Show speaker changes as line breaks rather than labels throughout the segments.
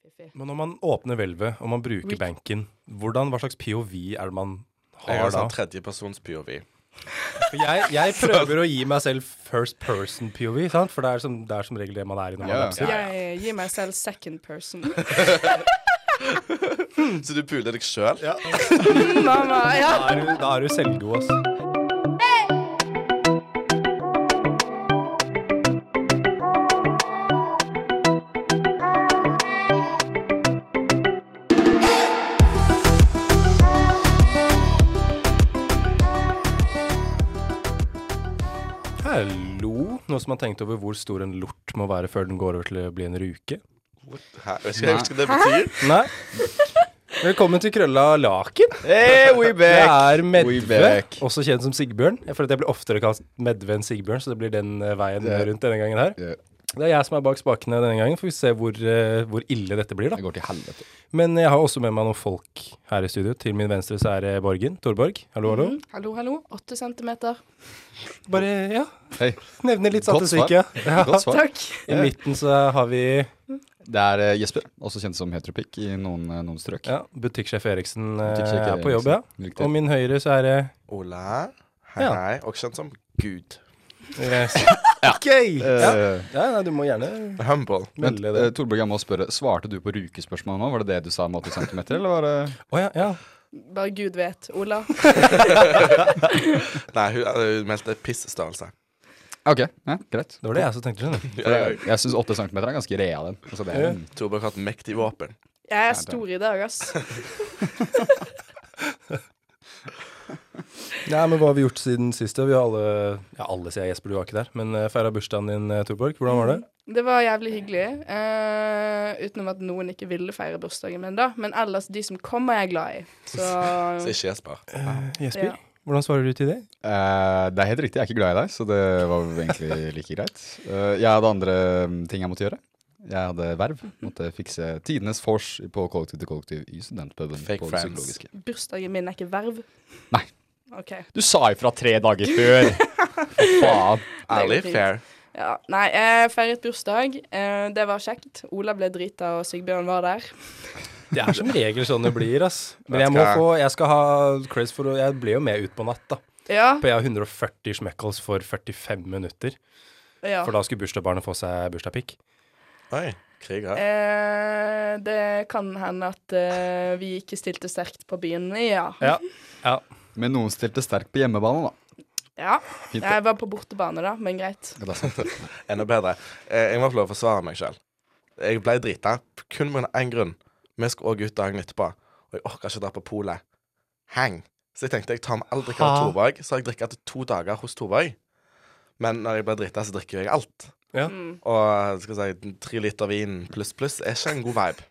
fiffig.
Men når man åpner hvelvet, og man bruker
Hvilk-
banken, hvordan, hva slags POV er det man
Jeg
har
har
da?
sånn tredjepersons POV.
For Jeg, jeg prøver å gi meg selv first person POV, sant? for det er, som, det er som regel det man er i når man
Ja.
vokser.
Jeg eh, gir meg selv second person.
Så du puler deg sjøl?
Mamma, ja.
Da er du- Da er du selvgod, ass. Hallo. Noen som har tenkt over hvor stor en lort må være før den går over til å bli en ruke?
Hæ? Vet ikke jeg husker hva det betyr.
Nei. Velkommen til Krølla Laken.
Hey, we
Det er
We
Medve,
back.
også kjent som Sigbjørn. Jeg føler at jeg blir oftere kalt Medve enn Sigbjørn, så det blir den eh, veien
Det-
rundt denne gangen her.
Det
Det er jeg som er bak spakene denne gangen, får vi se hvor, eh, hvor ille dette blir, da.
går til helvete.
Men jeg har også med meg noen folk her i studio. Til min venstre så er det Borgen Torborg. Hallo, hallo.
Hallo, hallo. Åtte centimeter.
Bare, ja,
Hei,
nevne litt
Mm. Godt
statistikk, ja. ja.
godt svar.
Takk.
I midten så har vi
Det er eh, Jesper, også kjent som heteropikk i noen, eh, noen strøk.
ja, butikksjef Eriksen eh,
Butikksjef
er på jobb, ja.
Eriksen. Riktig.
Og min høyre så er det
Ola. Hei,
Ja.
hei. Også kjent som Gud.
yes. eh, OK! Ja.
Eh,
Ja, nei, du må gjerne
Humble.
Vent,
melde det.
eh, Torborg, jeg må spørre. Svarte du på rukespørsmålet nå? Var det det du sa om 80 cm, eller var det
Å ja, ja.
Bare Gud vet. Ola.
Nei, hun, eh, hun meldte pissstørrelse.
OK, ja, greit.
Det var det jeg som tenkte. skjønner du.
Ja, ja,
Jeg,
ja.
jeg syns 8 cm er ganske real. den. Altså, det er en
Torborg har et mektig våpen.
Jeg er stor i dag, ass.
Nei, men Hva har vi gjort siden sist? da? Vi har alle Ja, alle sier Jesper, du var ikke der. Men uh, feira bursdagen din, eh, Torborg. Hvordan var det?
Det var jævlig hyggelig. eh, utenom at noen ikke ville feire bursdagen min, da. Men ellers, de som kom, er jeg glad i. Så
Så ikke Jesper.
Mm, eh, Jesper,
Ja.
hvordan svarer du til det?
Eh, det er helt riktig, jeg er ikke glad i deg, så det var jo egentlig like greit. Eh, jeg hadde andre mm, ting jeg måtte gjøre. Jeg hadde verv. Måtte fikse tidenes vors på kollektiv til kollektiv i studentpuben.
Fake
på det
friends.
psykologiske.
bursdagen min er ikke verv.
Nei.
OK.
Du sa ifra tre dager før! For faen.
Ærlig,
fint.
fair.
Ja. Nei, jeg feiret bursdag. eh, det var kjekt. Ola ble drita, og Sigbjørn var der.
Det er som regel sånn det blir, ass. Men
Vet
jeg må
hva?
få Jeg skal ha creds for å- Jeg ble jo med ut på natt, da.
Ja.
For jeg har 140 schmeckles for 45 minutter.
ja.
For da skulle bursdagsbarnet få seg bursdagspikk.
Oi. Krig her.
Eh, det kan hende at eh, vi ikke stilte sterkt på byen. Ja.
Ja. ja.
Men noen stilte sterkt på hjemmebane, da.
ja.
Fint, det.
Jeg var på bortebane, da, men greit.
Ja, det er sant.
Enda bedre. Eh, Jeg må få lov å forsvare meg sjøl. Jeg ble drita p- kun pga. én grunn. Vi skulle òg ut dagen etterpå, og jeg orka ikke dra på polet. Hang. Så jeg tenkte jeg tar med all drikka
Ha.
av Torborg, så har jeg drikka til to dager hos Torborg. Men når jeg blir drita, så drikker jeg alt.
Ja.
Mm.
Og skal jeg si, tre liter vin pluss pluss er ikke en god vibe.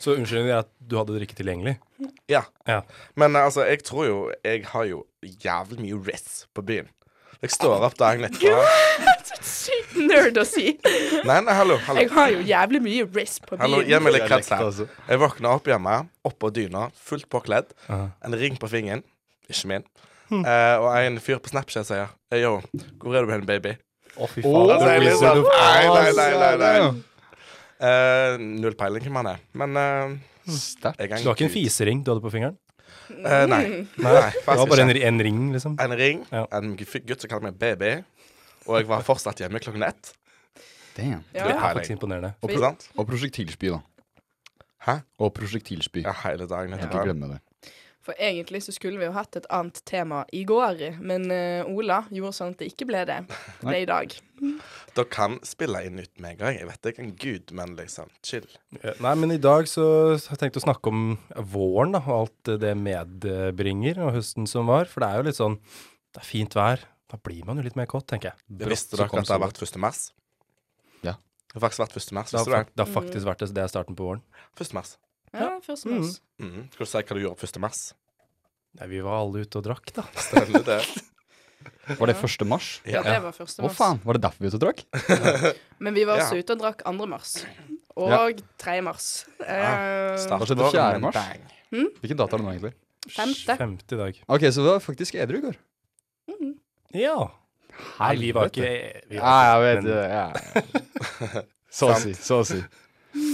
Så unnskyld at du hadde drikke tilgjengelig.
Ja.
Ja.
Men eh, altså, jeg tror jo Jeg har jo jævlig mye riss på byen. Jeg står opp dagen etterpå
Sykt nerd å si.
Nei, nei, hallo. hallo.
Jeg har jo jævlig mye risk på
Hallo,
byen.
gi meg litt kreds
Dialekt,
her.
altså.
Jeg våkna opp hjemme, oppå dyna, fullt påkledd.
Ja.
En ring på fingeren, ikke min. Eh, og en fyr på Snapchat sier hey, Yo, hvor er du hen, baby?
Å, fy
Å,
faen.
det er
The
litt
Wizard
sånn-
of
Nei, nei,
Oz.
nei, nei, nei.
Ja.
Eh, null peiling hvem han er, men eh,
Sterkt.
jeg er
Du har ikke en
gutt.
fisering du hadde på fingeren?
Eh, nei. nei.
Det var
faktisk
bare en,
ikke.
ri- en ring, liksom?
En ring,
Ja.
en gu- gutt som kaller meg baby, og jeg var fortsatt hjemme klokken ett.
Damn.
Det
Ja.
er faktisk imponerende.
Og,
Ikke
pro
sant?
og prosjektilspy, da.
Hæ?
Og prosjektilspy.
Ja, hele dagen
Ikke
etterpå.
glemme det.
For egentlig så skulle vi jo hatt et annet tema i går, men eh, Ola gjorde sånn at det ikke ble det. Det ble i dag.
Da kan spille inn nytt med en gang. Jeg vet det er ikke en gud, men liksom, chill.
Ja, Eh, Nei, men i dag så har jeg tenkt å snakke om våren da, og alt det medbringer, og høsten som var. For det er jo litt sånn Det er fint vær. Da blir man jo litt mer kåt, tenker jeg.
Brått
Visste
så
dere
kom
at det har
sola.
vært 1. mars?
Ja.
Det har faktisk vært 1. mars.
Det har,
Visste du det?
fak- det har faktisk vært det, det er starten på våren.
1. mars.
Ja, først med oss.
Mm. Skal du si hva du gjorde på 1. mars?
Nei, vi var alle ute og drakk, da.
Stemmer det.
Var det 1. mars?
Ja.
Ja, det var første
Å,
mars.
faen! Var det derfor vi ute og drakk?
Men vi var
Ja.
også ute og drakk 2. mars.
Ja.
Og 3. mars.
Ja,
Eh,
Start
Hva skjedde
våren
4.
med en
mars?
bang.
Hvilken dato er det nå, egentlig?
Femte.
Femte i dag.
Ok, så du var faktisk edru i går.
Ja. Nei, vi var ikke vi var
Ja, jeg
men-
vet det. Ja. Så å si. Så å si.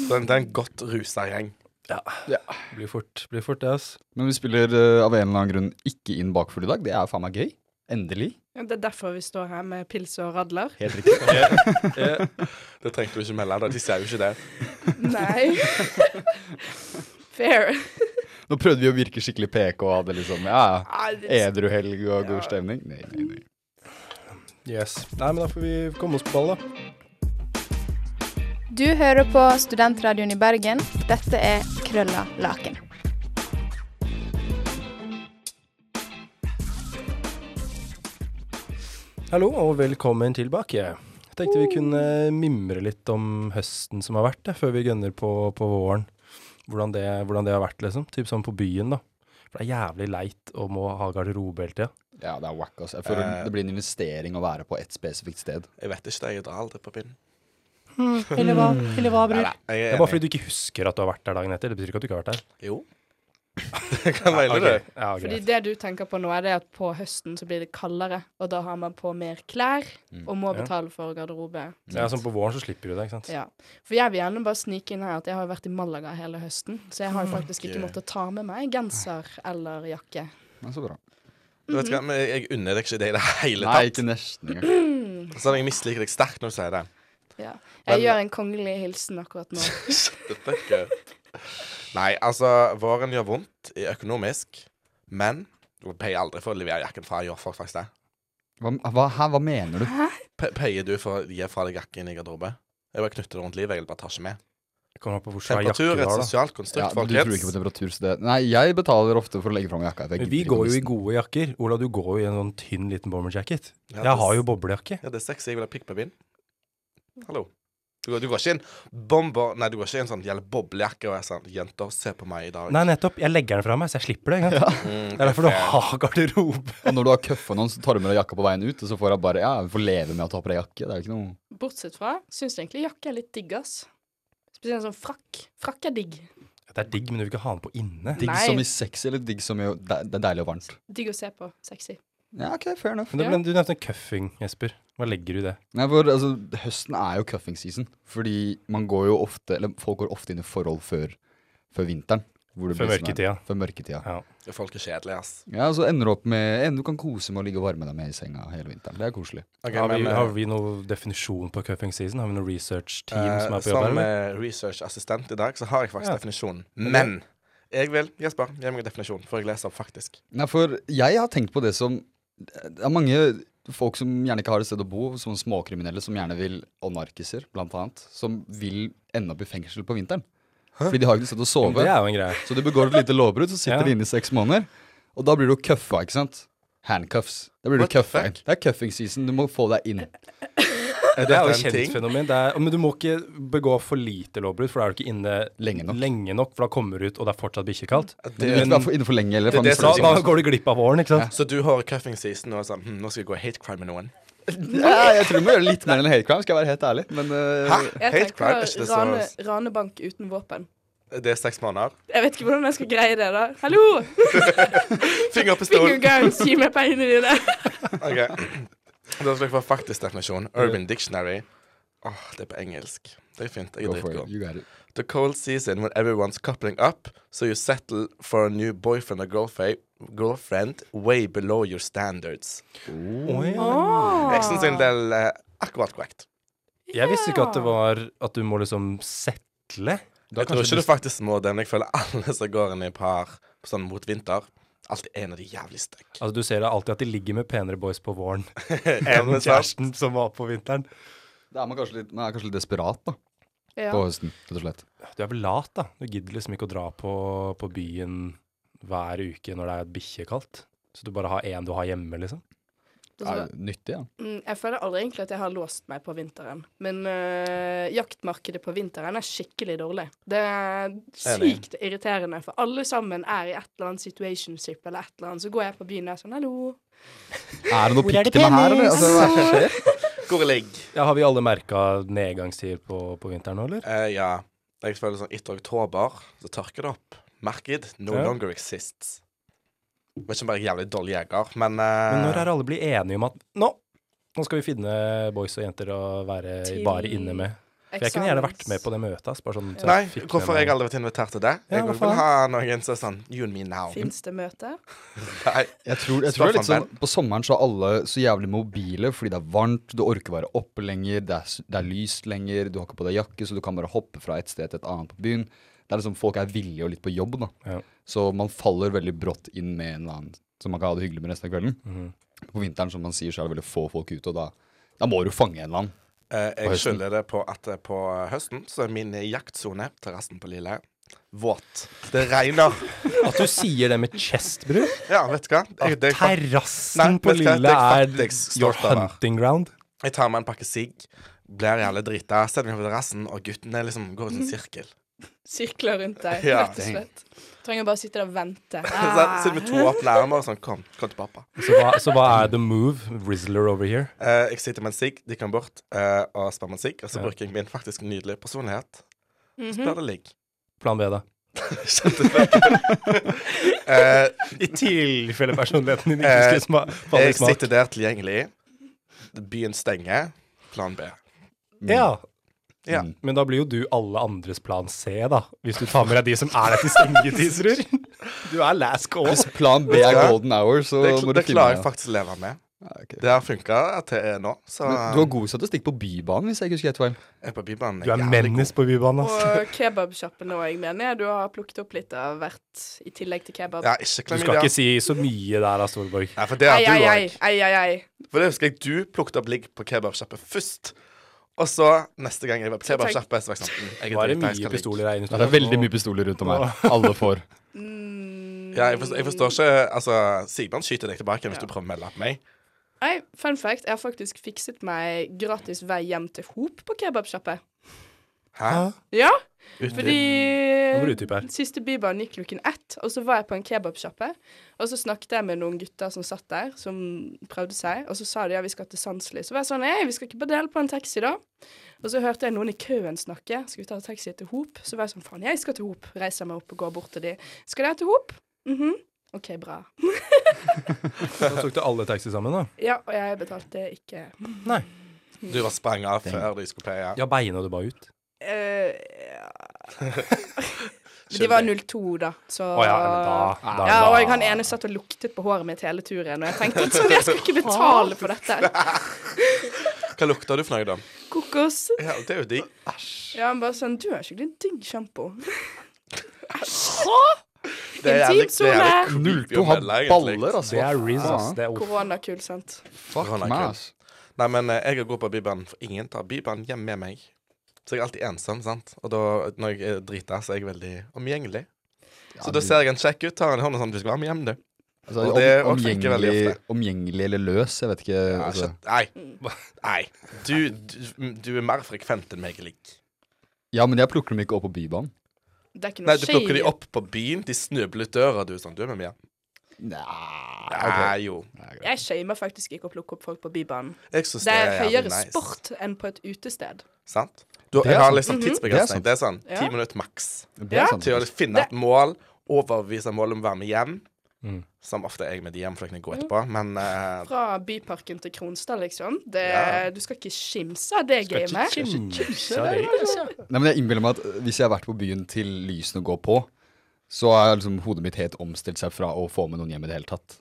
Den, det er en godt rusa gjeng.
Blir fort, blir fort det, ass.
Men vi spiller eh, av en eller annen grunn ikke inn bakfull i dag. Det er faen meg gøy. Endelig.
Ja, Det er derfor vi står her med pils og radler.
Helt riktig.
Det trengte du ikke melde, da. De ser jo ikke det.
Nei. Fair.
Nå prøvde vi å virke skikkelig PK og hadde liksom ja, ja,
Ah, det-
edru helg og
Ja.
god stemning. Nei, nei, nei.
Yes. Nei, men da får vi komme oss på ball, da.
Du hører på Studentradioen i Bergen. Dette er Krølla Laken.
Hallo, og velkommen tilbake. Jeg tenkte vi kunne mimre litt om høsten som har vært, det, før vi gønner på, på våren. Hvordan det, hvordan det har vært, liksom. Typ sånn på byen, da. For det er jævlig leit å må ha garderobe hele tida.
Ja, det er wack, altså. Jeg føler
Eh.
det blir en investering å være på ett spesifikt sted.
Jeg vet ikke det. Jeg drar aldri på pinnen.
Nei,
Nei, nei,
nei.
jeg
Det
er
er bare
enig.
fordi du ikke husker at du har vært der dagen etter. Det betyr ikke at du ikke har vært der.
Jo. Det kan være det.
Ok. Ja,
Fordi
greit.
det du tenker på nå, er det at på høsten så blir det kaldere, og da har man på mer klær
Mm.
og må
Ja.
betale for garderobe.
Ja, sånn på våren så slipper du det, ikke sant.
Ja. For jeg vil gjerne bare snike inn her at jeg har jo vært i Malaga hele høsten, så jeg har jo faktisk ikke
Yeah.
måttet ta med meg genser eller jakke.
Men så bra.
Du vet hva, men jeg- jeg unner deg ikke det i det hele
Nei,
tatt.
ikke nesten engang.
Sånn, jeg misliker deg sterkt når du sier det.
Ja.
Men-
Jeg gjør en kongelig hilsen akkurat nå.
Shut the fuck up. Nei, altså, våren gjør vondt i økonomisk, men du peier aldri for å levere jakken fra. Gjør folk faktisk det?
Hva, hva, hæ, hva mener du?
Pe- Peier du for å gi fra deg jakken i garderobe? Jeg bare knytter det rundt livet. Jeg bare tar ikke med.
Kommer an på hvor svær jakke
Temperatur
du
er et
har, da.
sosialt
Ja,
konstrukt,
du tror ikke på
folkens.
temperatur, så det Nei, jeg betaler ofte for å legge fram jakka. for
Men
jeg gidder
vi
ikke
går
å
jo i
miste den.
gode jakker. Ola, du går jo i en sånn tynn liten bomberjacket.
Ja, det-
Jeg har jo boblejakke.
Ja, det er sexy. Jeg vil ha pikk på bind. Hallo. Du går, du går ikke inn bomber Nei, du går ikke inn sånn gjelder boblejakke og er sånn 'Jenter, se på meg i dag'.
Nei, nettopp. Jeg legger den fra meg, så jeg slipper det. Ikke sant?
Mm,
Det er derfor du
fair.
har garderobe.
Og når du har køffa noen, så tar du med deg jakka på veien ut, og så får jeg bare Ja, vi får leve med at du har på deg jakke. Det er jo ikke noe
Bortsett fra, syns jeg egentlig jakke er litt digg, ass. Spesielt sånn frakk. Frakk er digg.
Det er digg, men du vil ikke ha den på inne.
digg
Nei.
som i sexy, eller digg som i Det det er deilig og varmt.
Digg å se på. Sexy.
Ja, OK, fair enough.
Men det,
Ja.
men du nevnte en cuffing, Jesper. Hva legger du i det?
Nei, for altså, Høsten er jo cuffing season, fordi man går jo ofte Eller folk går ofte inn i forhold før, før vinteren. hvor det
Før
blir sånn her-
mørketida.
Før mørketida.
Ja.
Folk er kjedelige, ass.
Ja, så ender du opp med en, Du kan kose med å ligge og varme deg med i senga hele vinteren. Det er koselig.
Ok,
har, vi,
men, eh,
har vi noen definisjon på cuffing season? Har vi noe research-team
eh,
som er på jobb?
Som
her, eller?
eh, researchassistent i dag, så har jeg faktisk
Ja.
definisjonen. Men jeg vil Jesper, gi meg en definisjon, for jeg leser opp faktisk.
Nei, for jeg har tenkt på det som Det er mange folk som gjerne ikke har et sted å bo, som småkriminelle, som gjerne vil Og narkiser, blant annet. Som vil ende opp i fengsel på vinteren. Fordi de har ikke noe
Ja,
sted å
men
sove.
Det er jo en greie.
Så du begår et lite lovbrudd, så sitter
Ja.
de inne i seks måneder. Og da blir du cuffa, ikke sant? Handcuffs. Da blir du
What the
cuffa.
fuck?
Det er cuffing season. Du må få deg inn.
Er
Det er jo
dette
et kjent fenomen. Det er, men du må ikke begå for lite lovbrudd, for da er du ikke inne
Lenge nok.
for da kommer du ut, og det er fortsatt bikkjekaldt.
Du vet hva for innenfor lenge, eller
Det er det
Da,
faen,
som-
da går du glipp av våren, ikke sant?
Så du har cuffing season og er sånn hm, 'Nå skal jeg gå hate crime med noen'.
Ja, jeg tror du må gjøre litt mer enn hate crime, skal jeg være helt ærlig. Men eh,
Hæ?
Jeg
Hate crime? Er ikke
tenker
det så
rane, ranebank uten våpen.
Det er seks måneder.
Jeg vet ikke hvordan jeg skal greie det, da. Hallo!
Finger på
Finger
stolen!
guns, gi meg pengene dine!
Ok. Da skal jeg få faktisk definisjon. Urban Dictionary. Åh, det er på engelsk. Det er fint. Jeg
go
er
for it.
dritgod.
You got it.
The cold season when everyone's coupling up, so you settle for a new boyfriend or girlfriend, girlfriend way below your standards.
Oi, ja.
Oh.
Jeg synes det er en del eh, akkurat korrekt.
Jeg visste ikke at det var at du må liksom settle.
Da
Jeg tror
kanskje
ikke
du-
du faktisk må det, men jeg føler alle som går inn i par sånn mot vinter, alltid er en av de jævlig støkk.
Altså, du ser da alltid at de ligger med penere boys på våren enn
En svart.
kjæresten som var på vinteren.
Da er man kanskje litt, man er kanskje litt desperat da,
Ja.
på høsten, rett og slett.
Du er vel lat, da. Du gidder liksom ikke å dra på, på byen hver uke når det er bikkjekaldt. Så du bare har én du har hjemme, liksom.
Det
Er
er så-
det nyttig, ja.
Mm, Jeg føler aldri egentlig at jeg har låst meg på vinteren. Men øh, jaktmarkedet på vinteren er skikkelig dårlig. Det er sykt irriterende, for alle sammen er i et eller annet situationship eller et eller annet. Så går jeg på byen og er sånn 'hallo'.
Er det noe pikk til meg her, eller? Altså, hva er det som skjer?
Hvor ligg?
Ja, har vi alle merka nedgangstider på, på vinteren nå, eller?
Eh, ja. Jeg føler sånn etter oktober, så tørker det opp. Marked no
Ja.
longer exists. Vet ikke om jeg er jævlig dårlig jeger, men, eh,
Men når er alle blitt enige om at nå, nå skal vi finne boys og jenter å være
Til-
bare inne med? For jeg kunne gjerne vært med på det møtet. ass, Bare sånn, så
Nei,
fikk med
hvorfor har
meg-
jeg aldri vært invitert til det?
Ja,
Jeg
hva
vil
faen?
ha noen som er sånn You and me now.
Fins det møte?
Nei.
Jeg tror,
Staffan
jeg tror det er litt sånn, På sommeren så er alle så jævlig mobile fordi det er varmt, du orker være oppe lenger, det er, s- det er lyst lenger, du har ikke på deg jakke, så du kan bare hoppe fra et sted til et annet på byen. Det er liksom Folk er villige og litt på jobb, da.
Ja.
Så man faller veldig brått inn med en eller annen som man kan ha det hyggelig med resten av kvelden. På vinteren som man sier, så er det veldig få folk ute, og da, da må du fange en eller annen.
Eh,
På
jeg
høsten.
skylder det på at eh, på høsten så er min jaktsone, terrassen på Lille, våt. Det regner.
At du sier det med chest, bror.
Ja, vet du hva? Jeg, det, jeg,
Terrassen
Nei,
på
vet du hva,
Lille
det er
er
jeg faktisk
your
stolt av, da.
hunting ground.
jeg tar meg en pakke sigg, blir jævlig drita, setter meg på terrassen, og guttene liksom går i en sirkel.
Sirkler rundt deg,
Ja.
rett og slett. Trenger bare å sitte der og vente.
Så sitter vi to åpne armer og sånn Kom, kom til pappa.
Så hva, så hva er the move? Rizzler over here.
Eh, jeg sitter med en sigg, de kommer bort eh, og spør meg en sigg, og så
Ja.
bruker jeg min faktisk nydelige personlighet. Så
Mhm.
blir det ligg.
Plan B, da.
Eh,
I tilfelle personligheten din
ikke skulle
skulle
jeg sitter der tilgjengelig. Byen stenger. Plan B.
Mm.
Ja,
Ja.
Mm.
men da blir jo du alle andres plan C, da. Hvis du tar med deg de som er der til stengetid, bror. Du er last call.
Hvis plan B er
Ja.
golden hour, så
Det,
må du
det
finne
klarer jeg
en.
faktisk å leve med.
Ja, ok.
Det har funka til eh, nå, så
Men Du har god statistikk på Bybanen, hvis jeg ikke husker helt feil.
jeg er på Bybanen.
Du er
jævlig
menace på bybanen, ass.
Og kebabsjappen òg, mener jeg. Du har plukket opp litt av hvert, i tillegg til
god.
kebab.
Ja,
Du
ikke
skal
klamydia.
ikke si så mye der, da, Storborg.
Nei, for det har
Ei, ei,
du
ei,
òg.
ei, ei, ei.
For det husker jeg du plukket opp ligg på kebabsjappe først. Og så, neste gang jeg var på
Så tenk-
kebabsjappe, så var jeg sånn mm, jeg er
Var det
drita, jeg skal
mye
ligge.
pistoler her inne?
det er veldig mye pistoler rundt om her. Alle får.
Mm.
Ja, jeg forstår, jeg forstår ikke Altså, Sigbjørn skyter deg tilbake hvis du
Ja.
prøver å melde på meg.
Nei, fun fact, jeg har faktisk fikset meg gratis vei hjem til Hop på kebabsjappe.
Hæ?
Ja,
Uten
fordi
Nå må du utdype her.
siste bybaren gikk klokken ett, og så var jeg på en kebabsjappe. Og så snakket jeg med noen gutter som satt der, som prøvde seg, og så sa de ja, vi skal til Sandsli. Så var jeg sånn, nei, vi skal ikke bare dele på en taxi da. Og så hørte jeg noen i køen snakke, skal vi ta taxi til Hop? Så var jeg sånn, faen, jeg skal til Hop. Reiser jeg meg opp og går bort til de. Skal dere til Hop? Mhm. Ok, bra.
Så tok du alle taxi sammen, da.
Ja, og jeg betalte ikke.
Du var sprang av før du skulle pleie.
Ja, beina du bare ut.
Eh, ja. De var 02, da, så
Å ja, men da, da,
Ja, og
da.
jeg han ene satt og luktet på håret mitt hele turen, og jeg tenkte at sånn, jeg skal ikke betale for dette.
Hva lukta du for noe, da?
Kokos.
Ja, det er jo digg.
Ja, han bare sånn, du har skikkelig digg sjampo.
Det er jævlig- det er
Intimsone.
jævlig creepy
Null
å
på å ha
melde, egentlig.
baller, altså.
Det er Riz, ass. Det er
Koronakull, sant.
Fuck
Korona er
meg,
kul.
ass.
Nei, men eh, jeg er god på Bybanen, for ingen tar Bybanen hjem med meg. Så jeg er alltid ensom, sant. Og da, når jeg er drita, så er jeg veldig omgjengelig. Så
Ja,
da
du-
ser jeg en kjekk ut, tar han i hånda sånn Du skal være med hjem, du.
altså,
og det
om,
funker veldig
omgjengelig,
ofte.
omgjengelig eller løs, jeg vet ikke.
Ja,
altså.
shit. Nei. Nei. Du, du, du er mer frekvent enn meg, Ligg.
Ja, men jeg plukker dem ikke opp på Bybanen.
Det er ikke
Nei,
noe
du plukker de
shady.
opp på byen, de snubler ut døra, og du er sånn Du er med meg hjem.
Nei,
Nei, jo.
Jeg shamer faktisk ikke å plukke opp folk på Bybanen.
Jeg syns
Det er
jævlig
høyere
nice.
sport enn på et utested.
Sant? Du,
Det er
jeg har
sant.
liksom
Mhm.
tidsbegrensning. Det
Det
er sånn ti
Ja.
minutter maks
Det er
Ja.
sant.
til å finne et mål, overbevise målet om å være med hjem.
Mhm.
Som ofte er jeg med de hjem, for jeg kan
Mm.
gå etterpå. Men eh,
Fra Byparken til Kronstad, liksom. Det,
Ja.
Du skal ikke skimse av det gamet.
altså.
Nei, men jeg innbiller meg at eh, hvis jeg har vært på byen til lysene går på, så har liksom hodet mitt helt omstilt seg fra å få med noen hjem i det hele tatt.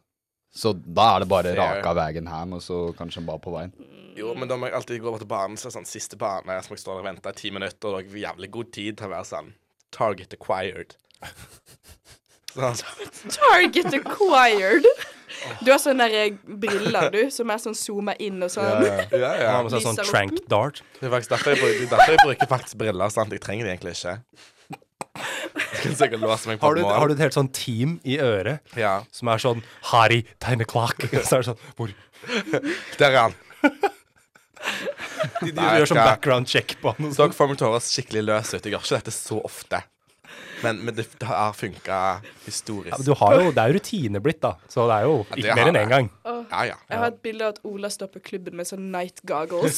Så da er det
Fair.
bare rake av veien hjem, og så kanskje bare på veien.
jo, men da må jeg alltid gå over til banen, så er det sånn siste bane, så må jeg stå der og vente i ti minutter, og det er jævlig god tid til å være sånn Target acquired. Sånn.
Target acquired. Du har sånne der, eh, briller, du, som er sånn zoomer inn og sånn.
Ja, ja.
Han har med seg sånn
Lyser opp.
trank dart.
Det er faktisk derfor jeg bruker, det er derfor jeg bruker faktisk briller. Sant? Jeg trenger det egentlig ikke. Jeg kan sikkert låse meg på
Har du,
et mål.
har du et helt sånn team i øret
Ja.
som er sånn Hari, tegn klakk. Så er det sånn Hvor
Der er han.
De, de
Nei,
gjør sånn
ja.
background check på han. og
Dere får meg til å høres skikkelig løs ut. Jeg gjør ikke dette så ofte. Men, men det, det har funka historisk.
Ja, men du har jo, det er jo rutine blitt, da. Så det er jo
det
ikke
har
mer enn
det.
én gang.
Åh,
Ja, ja.
jeg har et bilde av at Ola står på klubben med sånn night goggles.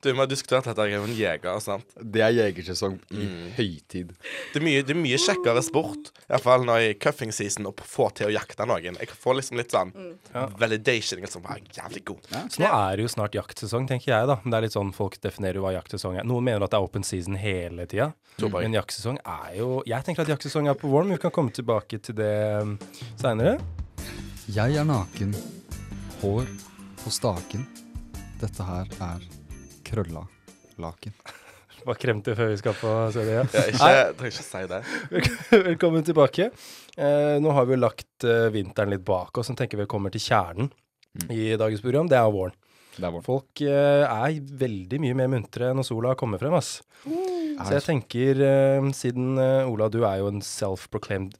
Du, vi har diskutert dette her med en jeger. sant?
Det er jegersesong i høytid.
Det er mye, det er mye kjekkere sport, iallfall når jeg er cuffing season, å få til å jakte noen. Jeg får liksom litt sånn
Mm.
validation. Liksom, «Jeg er jævlig god.
Så nå er det jo snart jaktsesong, tenker jeg, da. Men det er litt sånn folk definerer jo hva jaktsesong er. Noen mener at det er open season hele tida.
Tobakk.
Men jaktsesong er jo Jeg tenker at jaktsesong er på våren, men vi kan komme tilbake til det um, seinere.
Jeg er naken, hår på staken. Dette her er krølla laken.
Bare kremte før vi skal på CDE.
Ja, ikke, jeg trenger ikke si det.
Velkommen tilbake. Eh, nå har vi jo lagt eh, vinteren litt bak oss, og tenker vi kommer til kjernen i dagens program. Det er våren.
Det er vårt.
Folk eh, er veldig mye mer muntre når sola kommer frem, ass. Så jeg tenker, eh, siden eh, Ola, du er jo en self-proclaimed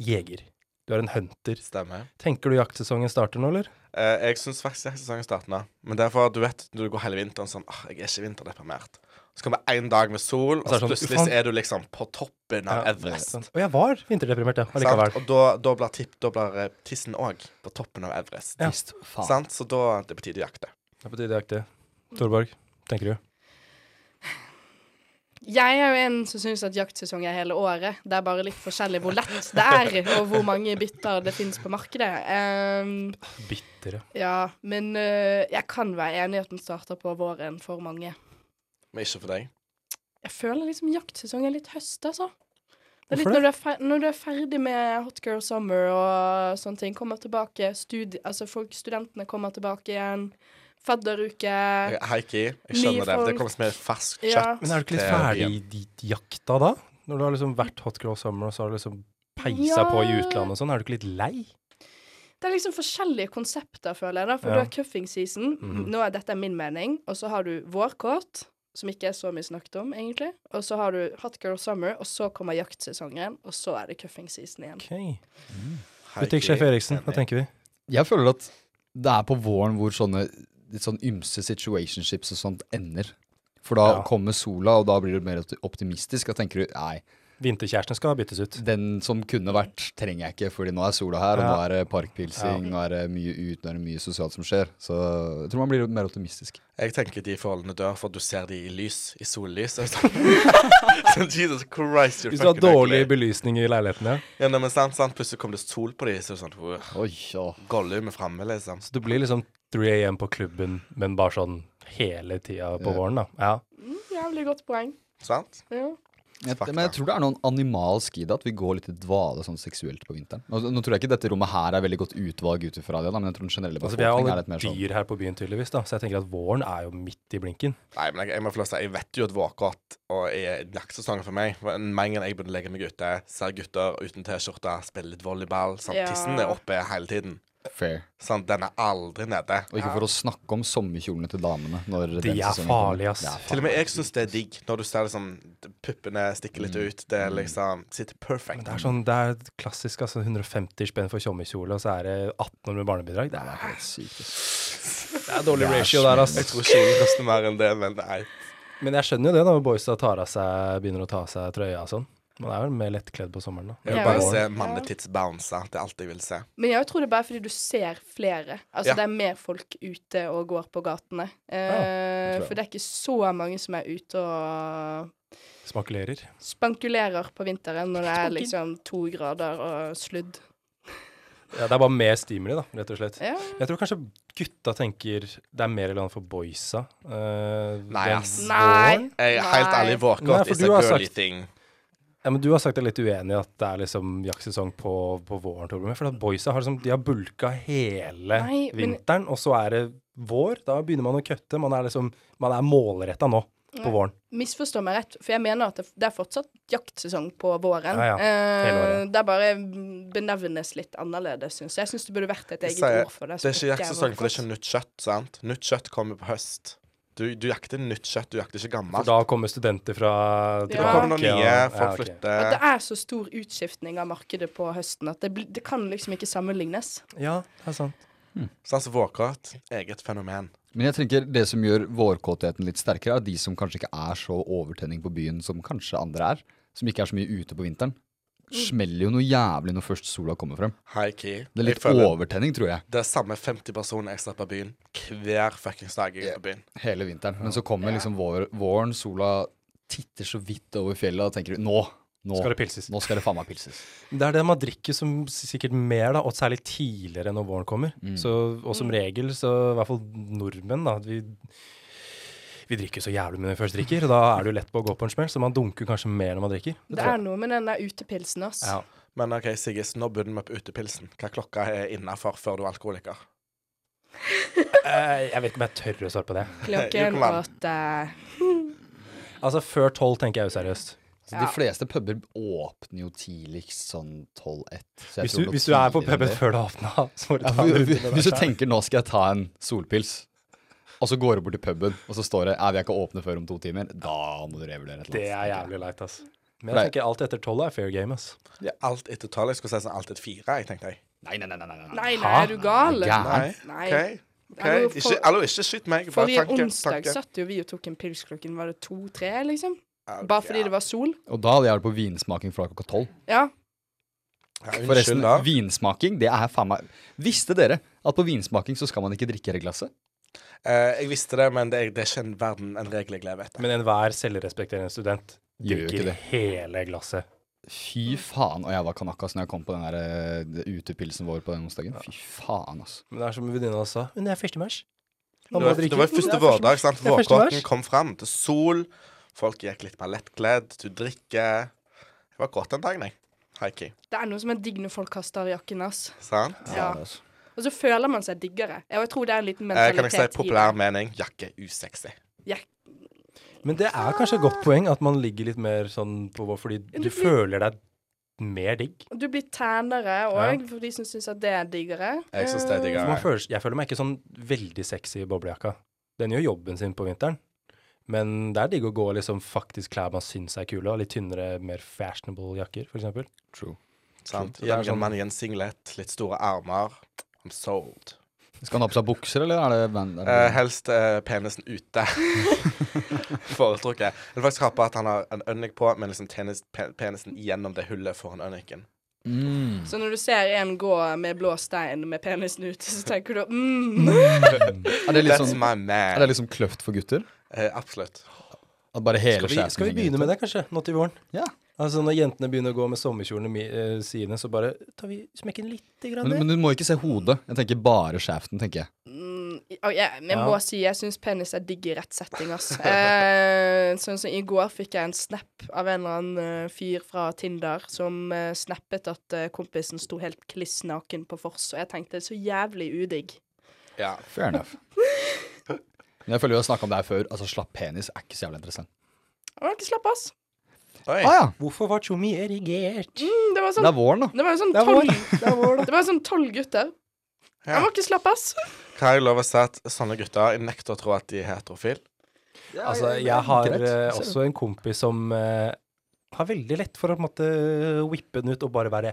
jeger. Du er en hunter.
Stemmer.
Tenker du jaktsesongen starter nå, eller?
Eh, jeg syns faktisk jaktsesongen starter nå. Men derfor, du vet, du går hele vinteren sånn Åh, jeg er ikke vinterdeprimert. Så kommer én dag med sol, og
Og så er det
så
sånn,
plutselig
faen.
så er du liksom på toppen av Everest.
Og jeg var vinterdeprimert, ja.
Sant?
Allikevel.
Og da, da blir tipp, da blir eh, tissen òg på toppen av Everest.
Ja.
Sant? Så da det er på tide å jakte.
Det er på tide å jakte. Torborg, tenker du?
Jeg er jo en som syns at jaktsesong er hele året. Det er bare litt forskjellig hvor lett det er, og hvor mange bytter det fins på markedet. Ehm,
Bitter, ja.
ja, men eh, jeg kan være enig i at den starter på våren for mange.
Men ikke for deg.
Jeg føler liksom jaktsesong er litt høst, altså. Det er litt
Hvorfor det?
når du er, fer når du er ferdig med Hot Girl Summer og sånne ting. Kommer tilbake. Studi altså folk, studentene kommer tilbake igjen. Fadderuke.
Jeg- Heiki, jeg skjønner det.
Nye
Det kommer som et ferskt kjøtt.
Ja.
Men er du ikke litt
til
ferdig
byen.
i ditt jakta da? Når du har liksom vært hot girl summer, og så har du liksom peisa
Ja.
på i utlandet og sånn, er du ikke litt lei?
Det er liksom forskjellige konsepter, føler jeg. da, For
Ja.
du har cuffing season,
Mhm.
nå er dette er min mening, og så har du vårkort, som ikke er så mye snakket om, egentlig. Og så har du hot girl summer, og så kommer jaktsesongen, og så er det cuffing season igjen.
Ok.
Heiki,
Butikksjef Eriksen, hva
enig.
tenker vi?
Jeg føler at det er på våren hvor sånne litt sånn ymse situationships og sånt ender. For da
Ja.
kommer sola, og da blir du mer opti- optimistisk. Da tenker du nei,
Vinterkjæresten skal byttes ut.
den som kunne vært, trenger jeg ikke, fordi nå er sola her, og
Ja.
nå er det parkpilsing, nå er det mye ut, nå er det mye sosialt som skjer. Så jeg tror man blir mer optimistisk.
Jeg tenker de forholdene dør, for du ser de i lys, i sollys. og Sånn, Sånn, Jesus Christ, you're
Hvis du har
fucking
dårlig
ugly.
belysning i leiligheten, ja.
Ja, nei, men sant, sant, plutselig kom det sol på de, så er det sånn uh,
Oi, ja.
Gollum er framme, liksom.
Så det blir liksom 3 AM på klubben, men bare sånn hele tida på
Ja.
våren, da. Ja.
Mm, jævlig godt poeng.
Sant?
Ja.
Jeg,
Fakta.
men jeg tror det er noen animalsk i det, at vi går litt i dvale sånn seksuelt på vinteren. Nå, nå tror jeg ikke dette rommet her er veldig godt utvalg ut ifra det, da, men jeg tror den generelle
Altså, vi er
befolkningen er litt
alle
mer sånn.
dyr her på byen, tydeligvis, da, så jeg tenker at våren er jo midt i blinken.
Nei, men jeg, jeg må få lov til å si, jeg vet jo at vårkott og er jaktesesongen for meg. For en- Med en gang jeg begynner å legge meg ute, ser gutter uten T-skjorte, spiller litt volleyball sant?
Ja.
Tissen er oppe hele tiden.
Fair.
Sant? Den er aldri nede.
Og ikke for å snakke om sommerkjolene til damene.
De
Når den
er
sesongen kommer.
farlige, ass.
Det er farlig.
Til og med jeg syns det er digg, når du ser liksom puppene stikke litt ut. Det er liksom sitter perfect.
Det er sånn, det er klassisk, altså 150 spenn for tjommerkjole, og så er det 18 år med barnebidrag. Det er,
Helt sykt, ass.
det er dårlig
Det er
ratio der, ass.
Jeg tror kjolen koster mer enn det, men nei.
Men jeg skjønner jo det, da, når boysa tar av seg, begynner å ta av seg trøya og sånn. Man er vel mer lettkledd på sommeren, da.
Jeg vil
Ja.
bare se mannetits bounce. Det er alt jeg vil se.
Men jeg tror det er bare fordi du ser flere. Altså
Ja.
det er mer folk ute og går på gatene. Eh,
tror jeg.
for det er ikke så mange som er ute og
Smakulerer.
spankulerer på vinteren når det er liksom to grader og sludd.
Ja, det er bare mer stimuli, da, rett og slett.
Ja.
Jeg tror kanskje gutta tenker det er mer eller annet for boysa. eh,
Nei,
den
ass.
Nei.
Jeg er helt
Nei.
ærlig,
Nei,
vårkott
for
is
du
a
har
girly
sagt-
thing.
Ja, men Du har sagt deg litt uenig i at det er liksom jaktsesong på, på våren. Torbjørn, For at boysa har liksom, de har bulka hele
Nei, men-
vinteren, og så er det vår. Da begynner man å kutte. Man er liksom, man er målretta nå
Ja.
på våren.
Misforstå meg rett, for jeg mener at det, det er fortsatt jaktsesong på våren.
Ja, ja. Hele
Eh,
året.
det er bare benevnes litt annerledes, syns jeg. Jeg syns det burde vært et
Jeg
eget
sier,
ord for det.
Det er ikke jaktsesong, for det er
vårkott.
ikke nytt kjøtt. sant? Nytt kjøtt kommer på høst. Du, du jakter nytt kjøtt, du jakter ikke
For
gammelt.
da kommer studenter fra
Ja.
Det kommer noen
og-
nye,
ok.
folk
At
flytter.
det er så stor utskiftning av markedet på høsten at det, blir- det kan liksom ikke sammenlignes.
Ja, det er sant.
Sånn som vårkott. Eget fenomen.
Men jeg tenker det som gjør vårkåtheten litt sterkere, er de som kanskje ikke er så overtenning på byen som kanskje andre er. Som ikke er så mye ute på vinteren.
Mm.
Smeller jo noe jævlig når først sola kommer frem.
High key.
Det er
Jeg
litt
føler
overtenning, tror jeg,
det er samme 50 personer jeg slipper byen hver fuckings dag jeg er på byen.
hele vinteren. Men så kommer liksom vår, våren, sola titter så vidt over fjellet, og da tenker du nå, nå
Skal det pilses?
Nå skal det faen meg pilses.
Det er det man drikker som s- sikkert mer, da, og særlig tidligere når våren kommer.
Mm.
Så, og
Mm.
som regel, så i hvert fall nordmenn, da at vi, vi drikker så jævlig mye når vi først drikker. Og da er det jo lett på å gå på en smell, så man dunker kanskje mer når man drikker.
Det er noe med den der utepilsen, ass.
Ja.
Men OK, Siggis, nå begynner vi på utepilsen. Hva klokka er innafor før du er alkoholiker?
Eh, Jeg vet ikke om jeg tør å svare på det.
Klokken eh,
Jo, kom an.
åtte.
Altså før tolv tenker jeg useriøst.
Så
Ja.
Altså, De fleste puber åpner jo tidligst sånn 12-1. så jeg
Hvis
tror
du,
nok
hvis du er på
tidligere enn
puben
det.
før det har åpna, så må du
Ja,
ta
for-
en runde.
hvis- Hvis du tenker nå skal jeg ta en solpils, og så går du bort til puben, og så står det «Nei, vi er ikke åpne før om to timer, da må du revurdere et eller annet.
Det er
tenker jeg.
jævlig leit, ass. Men jeg
Nei.
tenker alt etter tolv er fair game, ass.
Ja, alt etter tolv. Jeg skulle si sånn alt etter fire, jeg tenkte jeg.
Nei, nei, nei. nei, nei, nei.
Nei, nei,
Hæ?
er du gal?
Ja.
Nei.
Nei.
OK. ok.
Hallo, for-
Ikke, hallo, ikke skyt meg. Bare
Forrige
tanke.
onsdag
tanke.
satt jo vi og tok en pils klokken var det to-tre, liksom. Bare fordi det var sol.
Og da hadde jeg vært på vinsmaking fra klokka tolv.
Ja.
Ja,
Forresten,
unnskyld, da.
vinsmaking, det er faen meg Visste dere at på vinsmaking så skal man ikke drikke hele glasset?
Eh, jeg visste det, men det er, det er ikke en verden en regel jeg lever etter.
Men enhver selvrespekterende student
Gjør jo ikke
drikker
det.
hele glasset.
Fy faen, og jeg var kanakas når jeg kom på den der eh, utepilsen vår på den onsdagen. Fy faen, altså.
Men det er som venninna sa, men det er første mars.
Det var, det var første vårdag. sant?
Det er første
Vårkåten
mars.
kom fram til sol. Folk gikk litt mer lettkledd. Du drikker Jeg var kåt den dagen, jeg. High-key.
Det er noe som er digg når folk kaster jakken, ass.
Sant?
Ja. Og så føler man seg diggere. Ja, og Jeg tror det er en liten
Eh,
mentalitet
kan jeg si
i det.
populær mening? Jakke usexy.
Men det er kanskje et godt poeng at man ligger litt mer sånn på vår, fordi du
blir-
føler deg mer digg.
Og Du blir tænere òg, for de som syns at det er diggere.
Jeg synes det er
For
diggere. Ja.
Man føler, jeg føler meg ikke sånn veldig sexy i boblejakka. Den gjør jobben sin på vinteren. Men det er digg å gå i liksom faktisk klær man syns er kule, og litt tynnere, mer fashionable jakker, for eksempel.
True.
Sant?
Så det er
Young
sånn-
mann i en singlet, litt store armer. I'm sold.
Skal han ha på seg bukser, eller er det band? Er det
Eh, helst eh, penisen ute. Foretrukket. Jeg vil faktisk ha på at han har en ønik på, men liksom tenis, pe penisen gjennom det hullet foran øniken.
Mm.
Eh, Så når du ser en gå med blå stein med penisen ute, så tenker du mm.
Er det litt
That's
sånn,
my
er
man.
det liksom kløft for gutter?
Eh, absolutt.
At bare hele
Skal vi, skal vi begynne med det, kanskje, nå til våren?
Ja.
Altså Når jentene begynner å gå med sommerkjolene mi- eh, sine, så bare tar vi smekken lite grann
Men,
ned.
men du må ikke se hodet. Jeg tenker bare skjeften, tenker jeg.
Mm, og jeg, men jeg
Ja.
må si jeg syns penis er digg i rett setting, ass. Eh, sånn som i går fikk jeg en snap av en eller annen eh, fyr fra Tinder som eh, snappet at eh, kompisen sto helt kliss naken på vors, og jeg tenkte så jævlig udigg.
Ja.
Fair enough. Men jeg føler vi har snakka om det her før. Altså, slapp penis er ikke så jævlig interessant.
Og ikke slapp, ass.
Oi.
Ah, ja.
Hvorfor var Tjommi erigert?
Mm, det var
Det
sånn
er våren, da.
Det var jo sånn
Det er vår,
tolv
Det er vår, da.
Det var sånn tolv gutter.
Ja.
Jeg må ikke slappe, ass.
Kan jeg lov å si at sånne gutter jeg nekter å tro at de er heterofile?
Altså, jeg har
greit.
eh,
Så-
også en kompis som eh, har veldig lett for å på en måte whippe den ut og bare være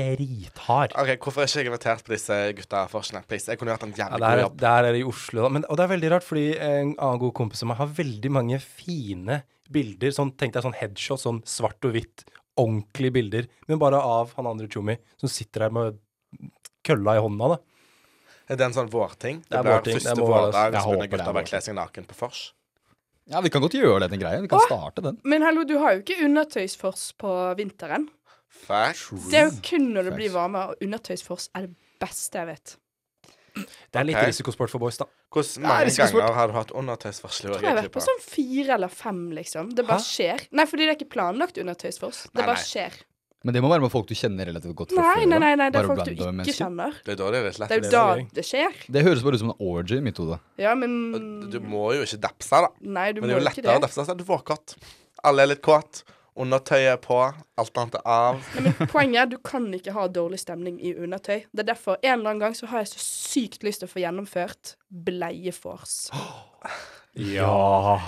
drithard.
Ok, Hvorfor er ikke jeg invitert på disse gutta forskjellene? Please, jeg kunne gjort en
Ja,
jævlig
det
god
er,
jobb.
det er her i Oslo, da. Men, og det er veldig rart, fordi en annen god kompis av meg har veldig mange fine bilder. Sånn, tenk deg sånn headshot, sånn svart og hvitt, ordentlige bilder, men bare av han andre Tjommi, som sitter der med kølla i hånda, da.
Er det en sånn vårting?
Det er
blir
vårting, det
Første
må være det.
vårdag,
Jeg
så begynner
håper det er
gutter å bare
vårting.
kle seg naken på vors.
Ja, vi kan godt gjøre det til en greie. Vi kan starte den.
Men hallo, du har jo ikke undertøysfors på vinteren.
Fuck.
Det er jo kun når det
Facts.
blir varmere, og undertøysfors er det beste jeg vet.
Det er litt
Ok.
risikosport for boys, da.
Hvordan
Nei,
mange
det skal sport.
ganger har du hatt undertøysvarsel? i
Jeg har vært på
Orientklubba?
sånn fire eller fem, liksom. Det
Hæ?
bare skjer. Nei, fordi det er ikke planlagt undertøysfors. Det
Nei,
bare
nei.
skjer.
Men det må være med folk du kjenner relativt godt fra
Nei,
før.
nei,
da.
nei, nei, det er
Bare
folk du
random
ikke
mennesker.
kjenner.
Det er da det er litt lett.
Det er jo
det
da
er gøy.
det skjer.
Det høres bare ut som en orgy i mitt hode.
Ja, men
Du må jo ikke dapse, da.
Nei,
Men
sånn- du må
det er jo
ikke
lettere å
det.
dapse seg. Du får kåt. Alle er litt kåt. Undertøyet er på. Alt annet er av.
Nei, men poenget er du kan ikke ha dårlig stemning i undertøy. Det er derfor en eller annen gang så har jeg så sykt lyst til å få gjennomført bleiefors.
Ja.